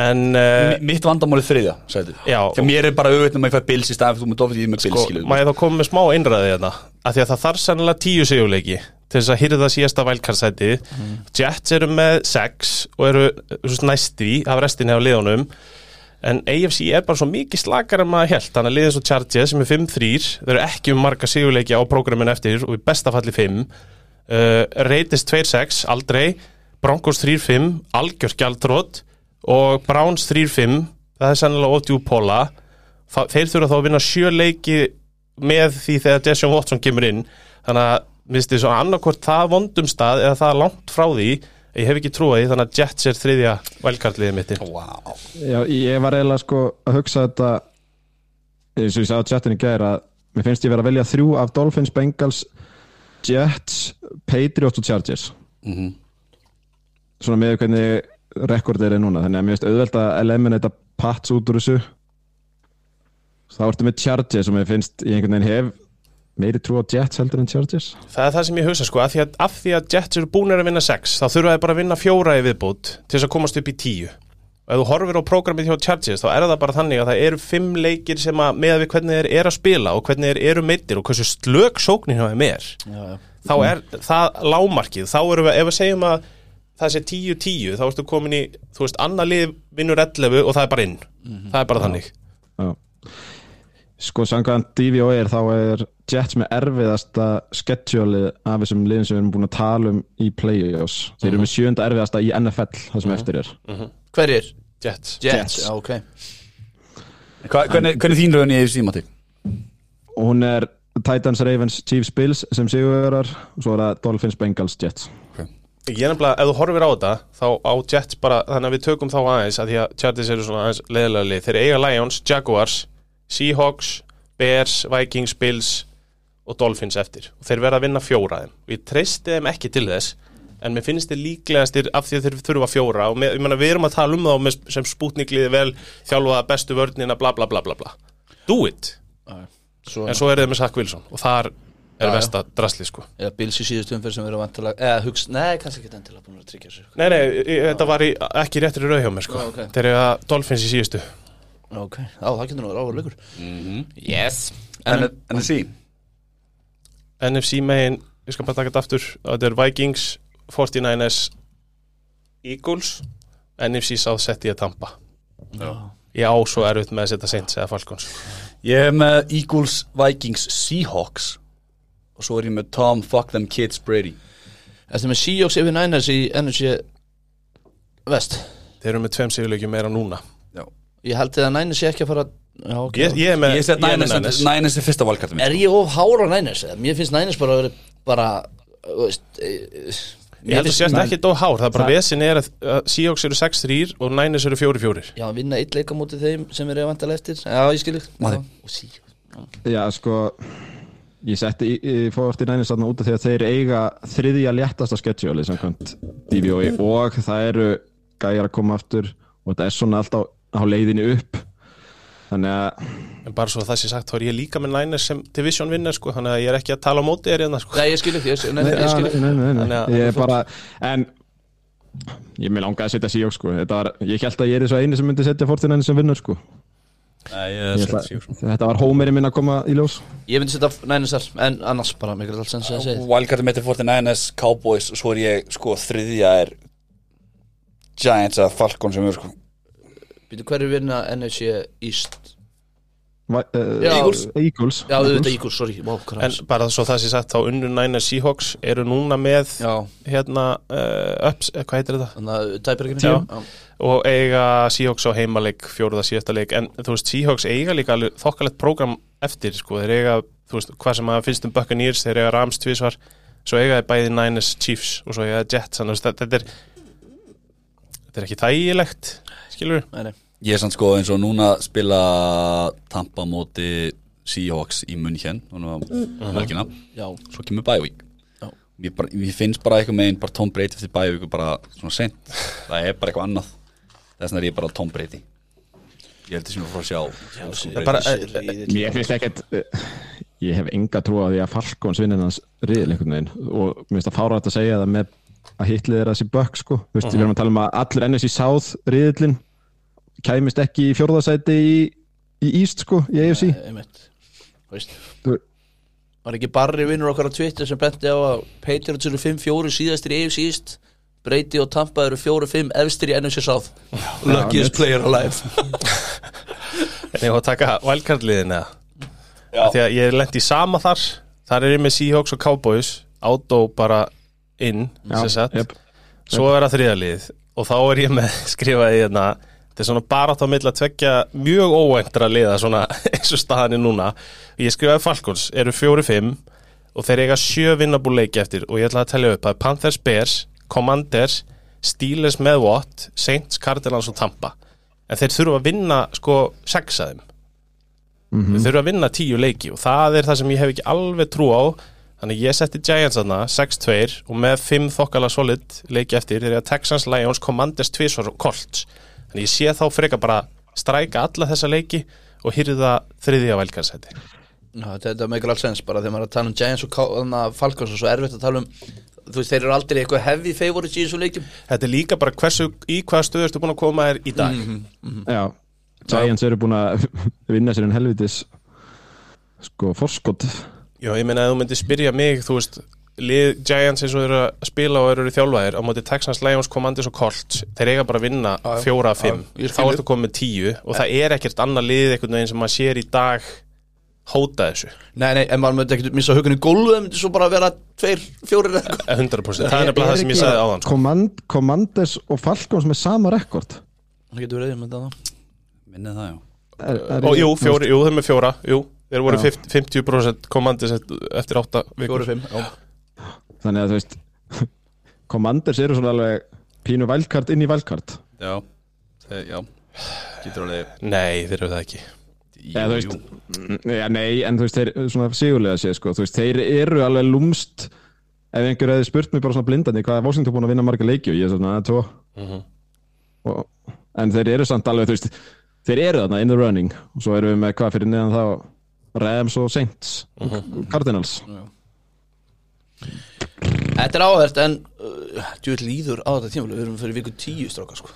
S2: en uh,
S1: Mitt vandamál er þriðja, sagði
S2: Já.
S1: Þegar mér er bara auðvitað um að ég fæ Bills í staðan fyrir þú með Dolphins, ég er með Bills,
S2: sko,
S1: skilur
S2: maður þá komið með smá einræði hérna af því að það þarf sennilega tíu sigurleiki til þess að hýrða síðasta wildcard-sæti Jets eru með 6 og eru svo næství af restinni af liðunum en AFC er bara svo mikið slakar en maður held þannig að liðið svo Chargers sem er 5-3 þau eru ekki um marga sigurleiki á prógramin eftir og í besta falli 5 uh, Raiders 2-6, aldrei Broncos 3-5, algjör gjaldrót og Browns 3-5 það er sennilega ótjú póla Þa, þeir þurfa þá að vinna sjö leiki með því þegar Deshaun Watson kemur inn þannig að minnst þið svo annarkvort það vondum stað eða það langt frá því ég hef ekki trúið því þannig að Jets er þriðja velkartliðið mitt inn.
S1: Wow.
S4: já, ég var eiginlega sko að hugsa þetta eins og ég sagði á chatinu í gær að mér finnst ég vera að velja þrjú af Dolphins, Bengals Jets, Patriots og Chargers svona með hvernig rekordir er núna þannig að mér finnst auðvelt að eliminata Pats út úr þessu þá ertu með Chargers og mér finnst ég einhvern veginn hef meiri trú á Jets heldur en Chargers
S2: það er það sem ég hugsa sko af því að, af því að Jets eru búinir að vinna sex þá þurfa þeir bara að vinna fjóra í viðbútt til þess að komast upp í tíu og ef þú horfir á prógramið hjá Chargers þá er það bara þannig að það eru fimm leikir sem að með við hvernig þeir eru að spila og hvernig þeir eru meittir og hversu slök sóknin hjá þeim er þá er það lámarkið þá erum við, ef við segjum að það sé 10-10 þá ertu komin í, þú veist, annað lið vinnur 11 og það er bara inn það er bara þannig
S4: Já. Sko sangaðan DVOR þá er Jets með erfiðasta schedule af þessum liðum sem við erum búin að tala um í Playoffs. Þeir eru með sjönda erfiðasta í NFL það sem eftir er.
S3: Hverjir?
S2: Jets
S3: Jets,
S4: Jets.
S3: já, ok
S1: Hva, hvernig, hvernig er þín raunin í AFC, Matti?
S4: Og hún er Titans, Ravens, Chiefs, Bills sem sigurverar og svo er það Dolphins, Bengals, Jets.
S2: ég er nefnilega, ef þú horfir á þetta þá á Jets bara, þannig að við tökum þá aðeins að því að Chargers eru svona aðeins leðilega lið þeir eiga Lions, Jaguars, Seahawks Bears, Vikings, Bills og Dolphins eftir og þeir verða að vinna fjóra af þeim og ég treysti þeim ekki til þess en mér finnst þeir líklegastir af því að þeir þurfa fjóra og með, ég meina, við erum að tala um þá með, sem spútnikliði vel þjálfaða bestu vörnina bla bla bla bla bla do it
S3: Svo
S2: en svo eru þeir með Sack Wilson og þar
S3: Já,
S2: er
S3: já.
S2: vesta drasli sko
S3: Eða Bills í síðustu umferð sem við erum vantilega Eða hugst, nei, kannski ekki endilega búin að tryggja sko. sér
S2: Nei, nei, ég, þetta var í, ekki réttri rauð hjá mér sko
S3: Já, ok.
S2: Þeir eru að Dolphins í síðustu
S3: Ok, á, það getur nú að ráða leikur
S1: Yes En, en sí
S2: NFC megin, ég skal bara taka þetta aftur Þetta er Vikings, 49ers Eagles NFC South sett ég að tampa Ég á svo erfitt með að setja Saints eða Falcons
S1: Ég er með Eagles, Vikings, Seahawks Og svo er ég með Tom, fuck them kids, Brady
S3: Eftir með Seahawks yfir Niners í NFC Vest
S2: Þeir eru með tveim sigurleikjum meira núna
S3: Ég held þið að Niners sé ekki að fara Já, ok
S2: Ég, Eh, ég er með
S1: Ég set
S2: er með
S1: Niners
S2: Niners.
S1: Niners er fyrsta valkartum
S3: Er ég of hára Niners? eða? Mér finnst Niners bara að vera bara þú veist, e, e,
S2: Ég held að sérst
S4: Nei.
S2: ekki dó hár, það er bara
S4: Það-
S2: vesin er að að Seahawks eru 6-3 og Niners eru 4-4
S3: Já, að vinna eitt leika mútið þeim sem við erum vantilega eftir Já, ég skil ykkur
S1: Maður.
S3: Og Seahawks
S4: Já, sko ég setti fórtið næni satna út af því að þeir eiga þriðja léttasta schedule samkvæmt DVOI E og það eru gæjar að koma aftur og þetta er svona alltaf á leiðinni upp þannig að
S2: En bara svo að það sé sagt, þá er ég líka með Niners sem division vinnar sko Þannig að ég er ekki að tala á móti þér hérna sko
S3: Nei, ég skil ykkur, ég, nei, ég skil
S4: nei,
S3: ykkur
S4: nei, nei, nei.
S2: Þannig að-
S4: ég er bara en ég með langaði að setja Seahawks sko Þetta var, ég held að ég er þessu eini sem myndi setja fórtið næni sem vinnur sko
S1: Nei, ég er
S4: Ég ætla, þetta var hómerinn minn að koma í ljós
S3: Ég myndi setja Niners þar, en annars bara Mér er alls enn sem ég segi
S1: Wildcard mitt er 49ers, Cowboys Svo er ég, sko, þriðja er Giants eða Falcons sem er, sko
S3: Býtu hverju vinna NFC East
S4: uh,
S3: Eagles.
S4: Eagles
S3: Já, auðvitað Eagles, sorry Vá, hvað er
S2: En bara svo það sem sagt þá unnur næna Seahawks eru núna með
S3: Já,
S2: hérna uh, ups, eh, hvað heitir þetta?
S3: þannig að tæpirginu
S2: Já. Og eiga Seahawks á heimaleik fjóruða síðasta leik en þú veist Seahawks eiga líka alveg þokkalegt prógram eftir sko þeir eiga þú veist hvað sem að finnst um Buccaneers þeir eiga Rams tvísvar svo eiga þeir bæði Niners Chiefs og svo eiga þeir Jets þannig að þetta- þetta er þetta er ekki þægilegt skilur við
S5: Ég er samt sko eins og núna spila Tampa móti Seahawks í munn hér Núna velkina
S3: Já,
S5: Svo kemur bævík
S3: Já.
S5: Mér, bara, mér finnst bara eitthvað megin bara Tom Brady eftir bævík og bara svona sent Það er bara eitthvað annað Þess vegna er ég bara Tom Brady Ég held þessum að fara að sjá Tom Brady.
S2: bara,
S3: eh,
S4: Mér finnst ekkert eh, Ég hef enga trú að því að Falkons vinnir hans riðil einhvern veginn og mér finnst að fára þetta að segja það með að hitlið er að sé bökk sko Þú veist, við erum að tala um að allir NSC South riðilinn kæmist ekki í fjórðasæti í, í East sko, í AFC
S3: Eh, einmitt Þú veist
S4: Þú-
S3: Var ekki barri vinnur okkar á Twitter sem benti á að Patriots eru 5-4 síðastir í AFC East Brady og Tampa eru 4-5 efstir í NFC South Luckiest player alive
S2: En ég var að taka valkarliðin eða Af Því að ég er lent í sama þar Þar er ég með Seahawks og Cowboys Átó bara inn
S4: Já,
S2: sem sagt.
S4: jep.
S2: Svo er það þriðalið Og þá er ég með skrifaði hérna Þetta er svona bara átt á milli að tvekja Mjög óæntra liða svona eins og staðan er núna Ég skrifaði Falcons Eru fjóri-fimm Og þeir eiga sjö vinnabúl leiki eftir Og ég ætla að telja upp að Panthers, Bears, Commanders Steelers með Watt Saints, Cardinals og Tampa En þeir þurfa að vinna sko sex að þeim Við þurfum að vinna tíu leiki og það er það sem ég hef ekki alveg trú á Þannig ég setti Giants aðna 6-2 og með 5 þokkala solid leiki eftir þegar Texans, Lions, Commanders, Tvisvar og Colts Þannig ég sé þá frekar bara stræka alla þessa leiki og hýrða þriðja velkarsæti
S3: Já, þetta meikar alls sens bara þegar maður er að tala um Giants og Ká- þarna Falcons og svo erfitt að tala um þú veist, þeir eru aldrei eitthvað heavy favorites í þessum leikum
S2: Þetta er líka bara hversu í hvaða stöðu ertu búin að koma þér í dag
S4: Já, Giants eru búin að vinna sér en helvitis sko forskot
S2: Já, ég meina að þú myndir spyrja mig, þú veist lið Giants eins og þeir eru að spila og eru í þjálfaðir á móti Texans, Lions, Commanders og Colts þeir eiga bara að vinna
S3: já.
S2: fjóra að fimm
S3: já, ég
S2: þá
S3: skil
S2: ertu komið með tíu og það er ekkert annað lið einhvern veginn sem maður sér í dag hóta þessu,
S3: Nei, nei, en maður myndi ekkert missa hugun í gólfu það myndi svo bara vera tveir, fjórir eða eitthvað
S2: 100% Eh, það er nefnilega það sem ég sagði áðan sko.
S4: Command, Commanders og Falkons með sama rekord
S3: Það getur verið, ég myndi að það
S5: Minni það já
S4: er, er
S2: og jú, fjóri, jú, þeir eru með fjóra jú, þeir voru 50 50% Commanders eftir átta vikur
S3: Fjórir, fimm, já
S4: þannig að þú veist Commanders eru svona alveg pínu vælkart inn í vælkart
S5: Já, Þeir, já. Getur alveg
S2: nei, þeir eru það ekki
S4: eða þú veist mm, já, nei, en þú veist, þeir svona sigurlega sé sko, þú veist, þeir eru alveg lúmst ef einhver hefði spurt mig bara svona blindandi hvað er Washington búin að vinna marga leiki og ég er svona að tvo og, en þeir eru samt alveg, þú veist þeir eru þarna in the running og svo erum við með hvað fyrir neðan þá Rams og Saints og Cardinals
S3: Þetta er áhært, en uh, djúið líður á þetta tímafélag Við erum fyrir viku tíu stráka, sko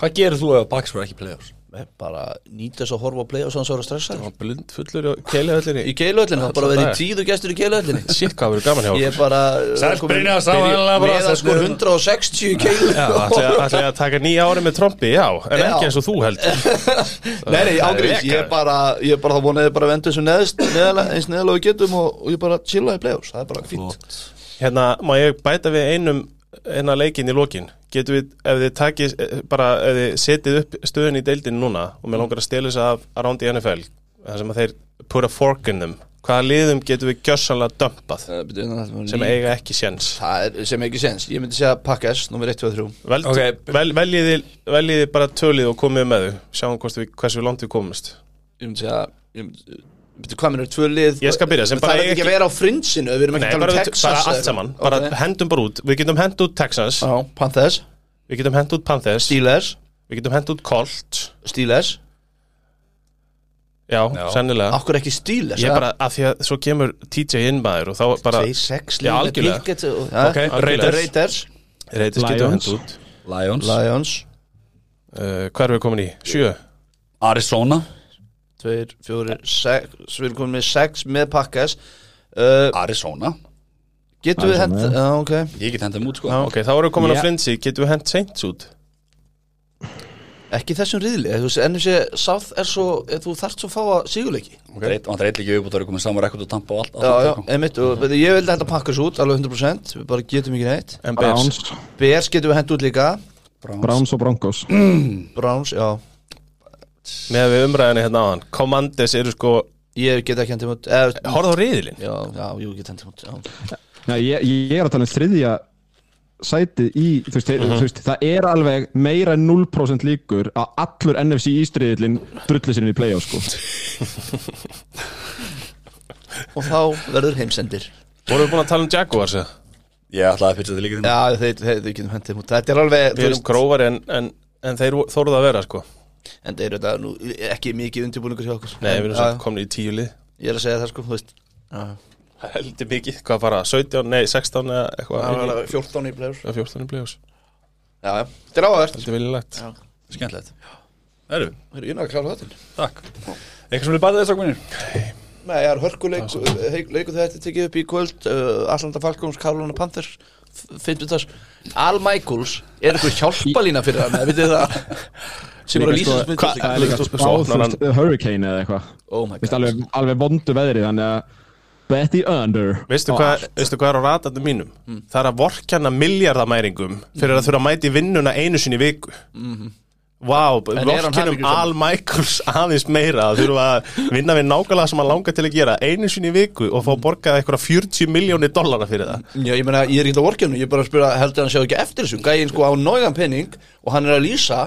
S5: Hvað gerir þú ef Bucks verður ekki í playoffs?
S3: Við Eh, Bara nýta þess að horfa á play og svo hann svo er að stressa
S2: Hann var blind fullur og keiljaðallir
S3: Í keiluöllinu, það er bara verið
S2: dagar.
S3: tíð og gestur í keiluöllinu
S2: shit, hvað verður gaman hjá
S3: Ég er bara eh,
S5: Sæll, Brynjar, sá aðallega bara
S3: Meðan sko
S5: þessum-
S3: 160 keilu
S2: Ætlaði að taka nýja ári með trombi, já, en
S3: Já.
S2: ekki eins og þú heldur
S3: Nei, nei,
S5: Það er
S3: ágríms, ég er
S5: lekkar.
S3: bara, ég er bara þá vonaði bara að venda þessu neðst, neðalega, eins neðalega við getum og, og ég bara chillaði play-offs, það er bara fínt
S2: Hérna, má ég bæta við einum eina leikin í lokin Getum við, ef þið takis, bara ef þið setið upp stöðun í deildin núna og mér langar að stela þess af around í NFL þar sem að þeir put a fork in them Hvaða liðum getum við gjössanlega dömpað
S3: Það betur, það var
S2: sem
S3: ný-
S2: eiga ekki séns
S3: Það er sem ekki sens, ég myndi segja Pakkes, nummer 1, 2, 3
S2: Vel,
S5: Ok.
S2: vel, veljiði, veljiði bara tölið og komið með þau Sjáum hvort við, hversu langt við komumst
S3: Ég myndi segja, ég myndi, betur hvað minnur, tvö lið
S2: Ég skal byrja, sem bara
S3: Það er
S2: eiga
S3: ekki að vera á frinsinu, við erum
S2: Nei,
S3: ekki að
S2: bara,
S3: tala um
S2: við-
S3: Texas
S2: bara
S3: eða
S2: allt
S3: eitthvað.
S2: saman, bara
S3: Ok.
S2: hendum bara út Við getum hend út Texas,
S3: Já, Panthers,
S2: við getum hend út Panthers
S3: Steelers,
S2: Við getum hend út Colt
S3: Steelers
S2: Já,
S5: Já.
S2: sennilega
S3: Akkur ekki Steelers,
S2: Ég bara, af því að svo kemur TJ inn maður og þá bara
S3: 2, 6,
S2: Já, algjörlega.
S5: Ok,
S2: Raiders.
S3: Raiders,
S2: Reytis getur
S4: Lions.
S2: hend út
S5: Lions
S3: Lions
S2: uh, Hvað erum við komin í? Sjö?
S5: Arizona
S3: 2, 4, 6, við erum komin með 6 með Pakkes uh,
S5: Arizona
S3: Getum við
S4: Arizona,
S3: hent, já, ok
S5: Ég get hendum út sko
S2: Ok, þá erum við komin á
S4: Já.
S2: Flinsi, getum við hend Saints út?
S3: Ekki í þessum riðli, þú veist, ennum sé South er svo, eh, þú þarft svo fá að sigurleiki
S1: okay. og hann er eitthvað upp og það er komið saman rekord og tampa og allt,
S3: Já,
S1: allt
S3: já, einmitt, og veitir, ég vildi henda Packers út alveg 100%, við bara getum ekki neitt
S2: En Bears
S4: Browns,
S3: Bears getum við henda út líka
S4: Browns og Broncos
S3: Browns, já,
S2: Með við umræðinni hérna á hann Commanders eru sko
S3: ég get ekki henda út eh,
S2: Horða á riðilinn
S3: Já, já, jú, ég get henda út já.
S4: Nei, ég, ég er að tala um þriðja sætið í, þú veist,
S2: Mhm.
S4: þú veist það er alveg meira en 0% líkur að allur NFC ístriðilinn drulli sinni í playoff sko
S3: Og þá verður heimsendir
S2: Vorum við búin að tala um Jaguars eða?
S1: ég ætlaði að pitcha þetta líka til
S3: Já, þeir, þeir, þeir getum henda út Þetta er alveg,
S2: Við erum grófari en, en, en þeir þóruð að vera sko
S3: en þeir eru þetta nú ekki mikið undirbúningur hjá okkur
S2: Nei, við erum
S3: Já,
S2: svo komin í tíu lið
S3: Ég er að segja það sko, þú veist Já,
S2: Heldur mikið Hvað fara, 17, nei 16 eða eitthvað inn í-
S3: 14 hérna í playoffs
S2: eða 14 í play-offs
S3: Já, já, þetta er áhverð
S2: Heldur viljulegt
S3: Já.
S1: mig skemmtilegt Erum við,
S3: Ég er að klára þetta
S1: takk Eitthvað sem vil bæta þessu okkur minnir
S3: Nei, það er hörkuleik heik- leikur þegar þetta er tekið upp í kvöld uh, Atlanta Falcons, Carolina Panthers Fyndutas Al Michaels er eitthvað hjálpalína fyrir hann eða vitið það sem eru að lýsa þessu
S2: hvað-
S3: myndbandi.
S2: það er líka
S4: Þú
S2: svo-
S4: spá,
S2: svo
S4: þú
S2: opnar hann-
S4: veist, Hurricane eða eitthvað
S3: Oh my
S4: Vist,
S3: god
S4: alveg, alveg vondu veðrið þannig að Betty Under Ah,
S2: Veistu
S4: á
S2: hvað,
S4: allt.
S2: veistu hvað er á ratarnum mínum? Það er að vorkjana miljardamæringum fyrir að þurfa að mæti vinnuna einu sinni í viku. Vá,
S3: er hann
S2: vorkjanum
S3: hamingjusamur?
S2: Al Michaels aðeins meira að þurfa að vinna við nákvæmlega sem hann langar til að gera einu sinni í viku og fá borgað eitthvað 40 miljónir dollara fyrir það.
S3: Já, ég meina, ég er ekki að vorkjörnu, ég er bara að spyrja heldur hann sjá ekki eftir þessu, gæinn sko á nógan penning og hann er að lýsa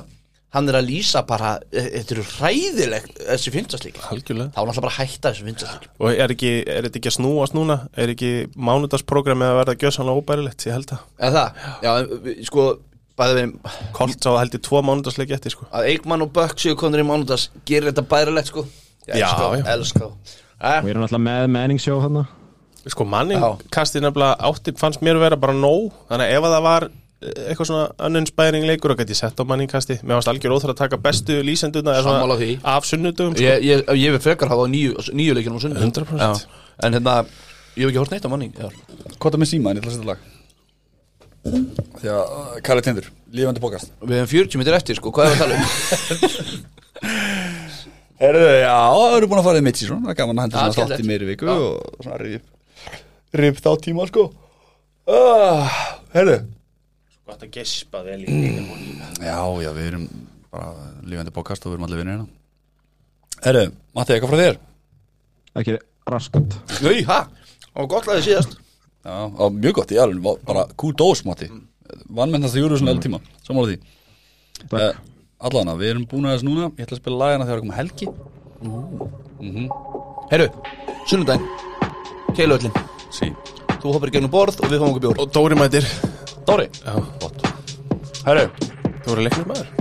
S3: hann er að lýsa bara, eh, þetta eru hræðilegt þessi fyndastlík, þá er
S2: Algjörlega.
S3: hann alltaf bara að hætta þessu fyndastlík
S2: Og er, ekki, er þetta ekki að snúast núna? Er ekki mánudagsprogrammið að verða gjössanlega óbærilegt? Ég held að.
S3: Eða það, já, en við- sko bæði við,
S2: Kolt sá held ég tvo mánudagsleiki eftir sko.
S3: að Eikmann og Bökk séu konur í mánudags gerir þetta bærilegt sko
S2: Já,
S3: já
S2: já.
S3: Elskar Eh?
S4: og ég er náttúrulega með Manning Show hann
S2: Sko manning
S3: Já.
S2: kastið nefnilega átti fannst mér vera bara nóg þannig að ef að það var eh, eitthvað svona uninspiring leikur og gæti sett á manning kasti mér varst algjör óþur að taka bestu lýsenduna eða svona
S3: Sammála því.
S2: af sunnudum sko.
S3: Ég, ég, ég vil frekar hafa á nýju, nýju leikinum á sunnum
S2: 100%.
S3: En hérna, ég hef ekki hórt neitt á manning já.
S1: Kota með síma, en ég ætla að setja lag Því að uh, Kari Tindur, lífandi bókast
S3: Við hefum 40 minnir eftir sko, hvað er það að tala um?
S1: Herðu, já, það eru búin að fara í mitt sísón Það er gaman að henda
S3: Já,
S1: svona
S3: skemmtilegt.
S1: þátt í meiri viku og svona rip Rip þá tíma, sko uh, Herðu
S2: Gott að gespa vel í
S1: Já, já, við erum bara lífandi bókast og við erum allir vinnir hérna Herðu, Matti, eitthvað frá þér?
S4: ekki raskat
S3: Nei, ha? Og gott lagið síðast
S1: Já, á, mjög gott, ég alveg, bara kúdós, Matti Vannmennast að júru svona mm. tíma, sammála því uh,
S2: Eh.
S1: Allana, við erum búin að þessu núna Ég ætla að spila lagina þegar að koma helgi
S3: Herru, sunnudaginn Keilöllin,
S1: Sí,
S3: þú hoppar í gegnum borð og við fáum okkur bjór
S2: og Dóri mætir
S1: Dóri
S2: Já,
S1: Gott Herru,
S2: Dóri leiknir maður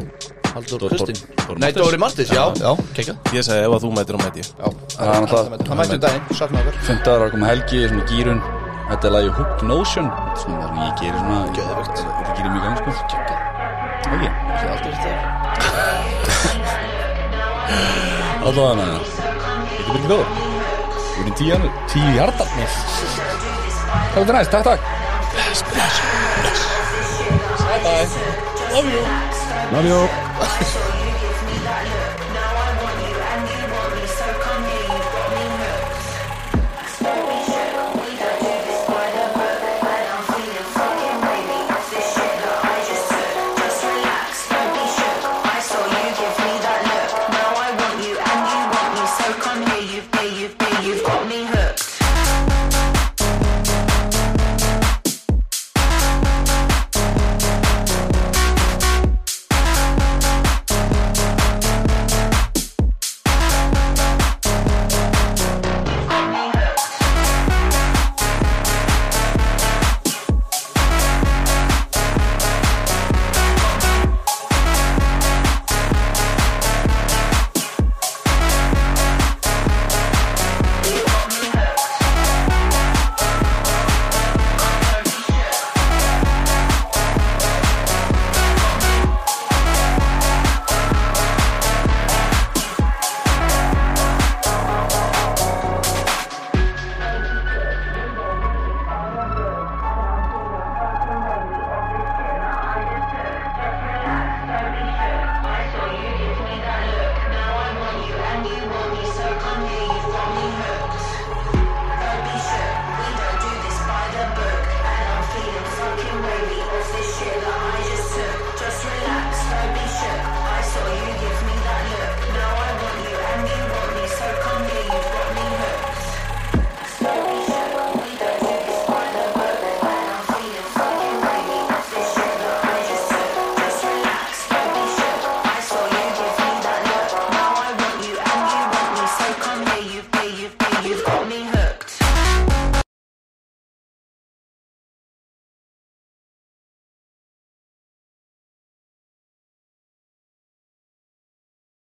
S3: Haldur
S1: Dór-
S3: Kristinn
S1: Dór- Dór-
S3: Nei, Dóri Martins, já, já, kekja
S2: Ég sagði ef að þú mætir og mæti ég
S1: það er náttúrulega
S3: Hann mætti um daginn, sakna okkar
S1: Fymtaður að koma helgi, svona gýrun Þetta er lagi Hooked Notion Þetta er svona það sem ég gerir svona
S3: Geðveikt.
S1: Þetta gerir mjög gangi sko Ekki
S3: Það er aldrei þetta
S1: Alltaf hana Þetta er byrjum góður Við erum tíu hjarnar Tíu hjarnar Takk fyrir næst, takk takk Bye bye Love you
S4: Love you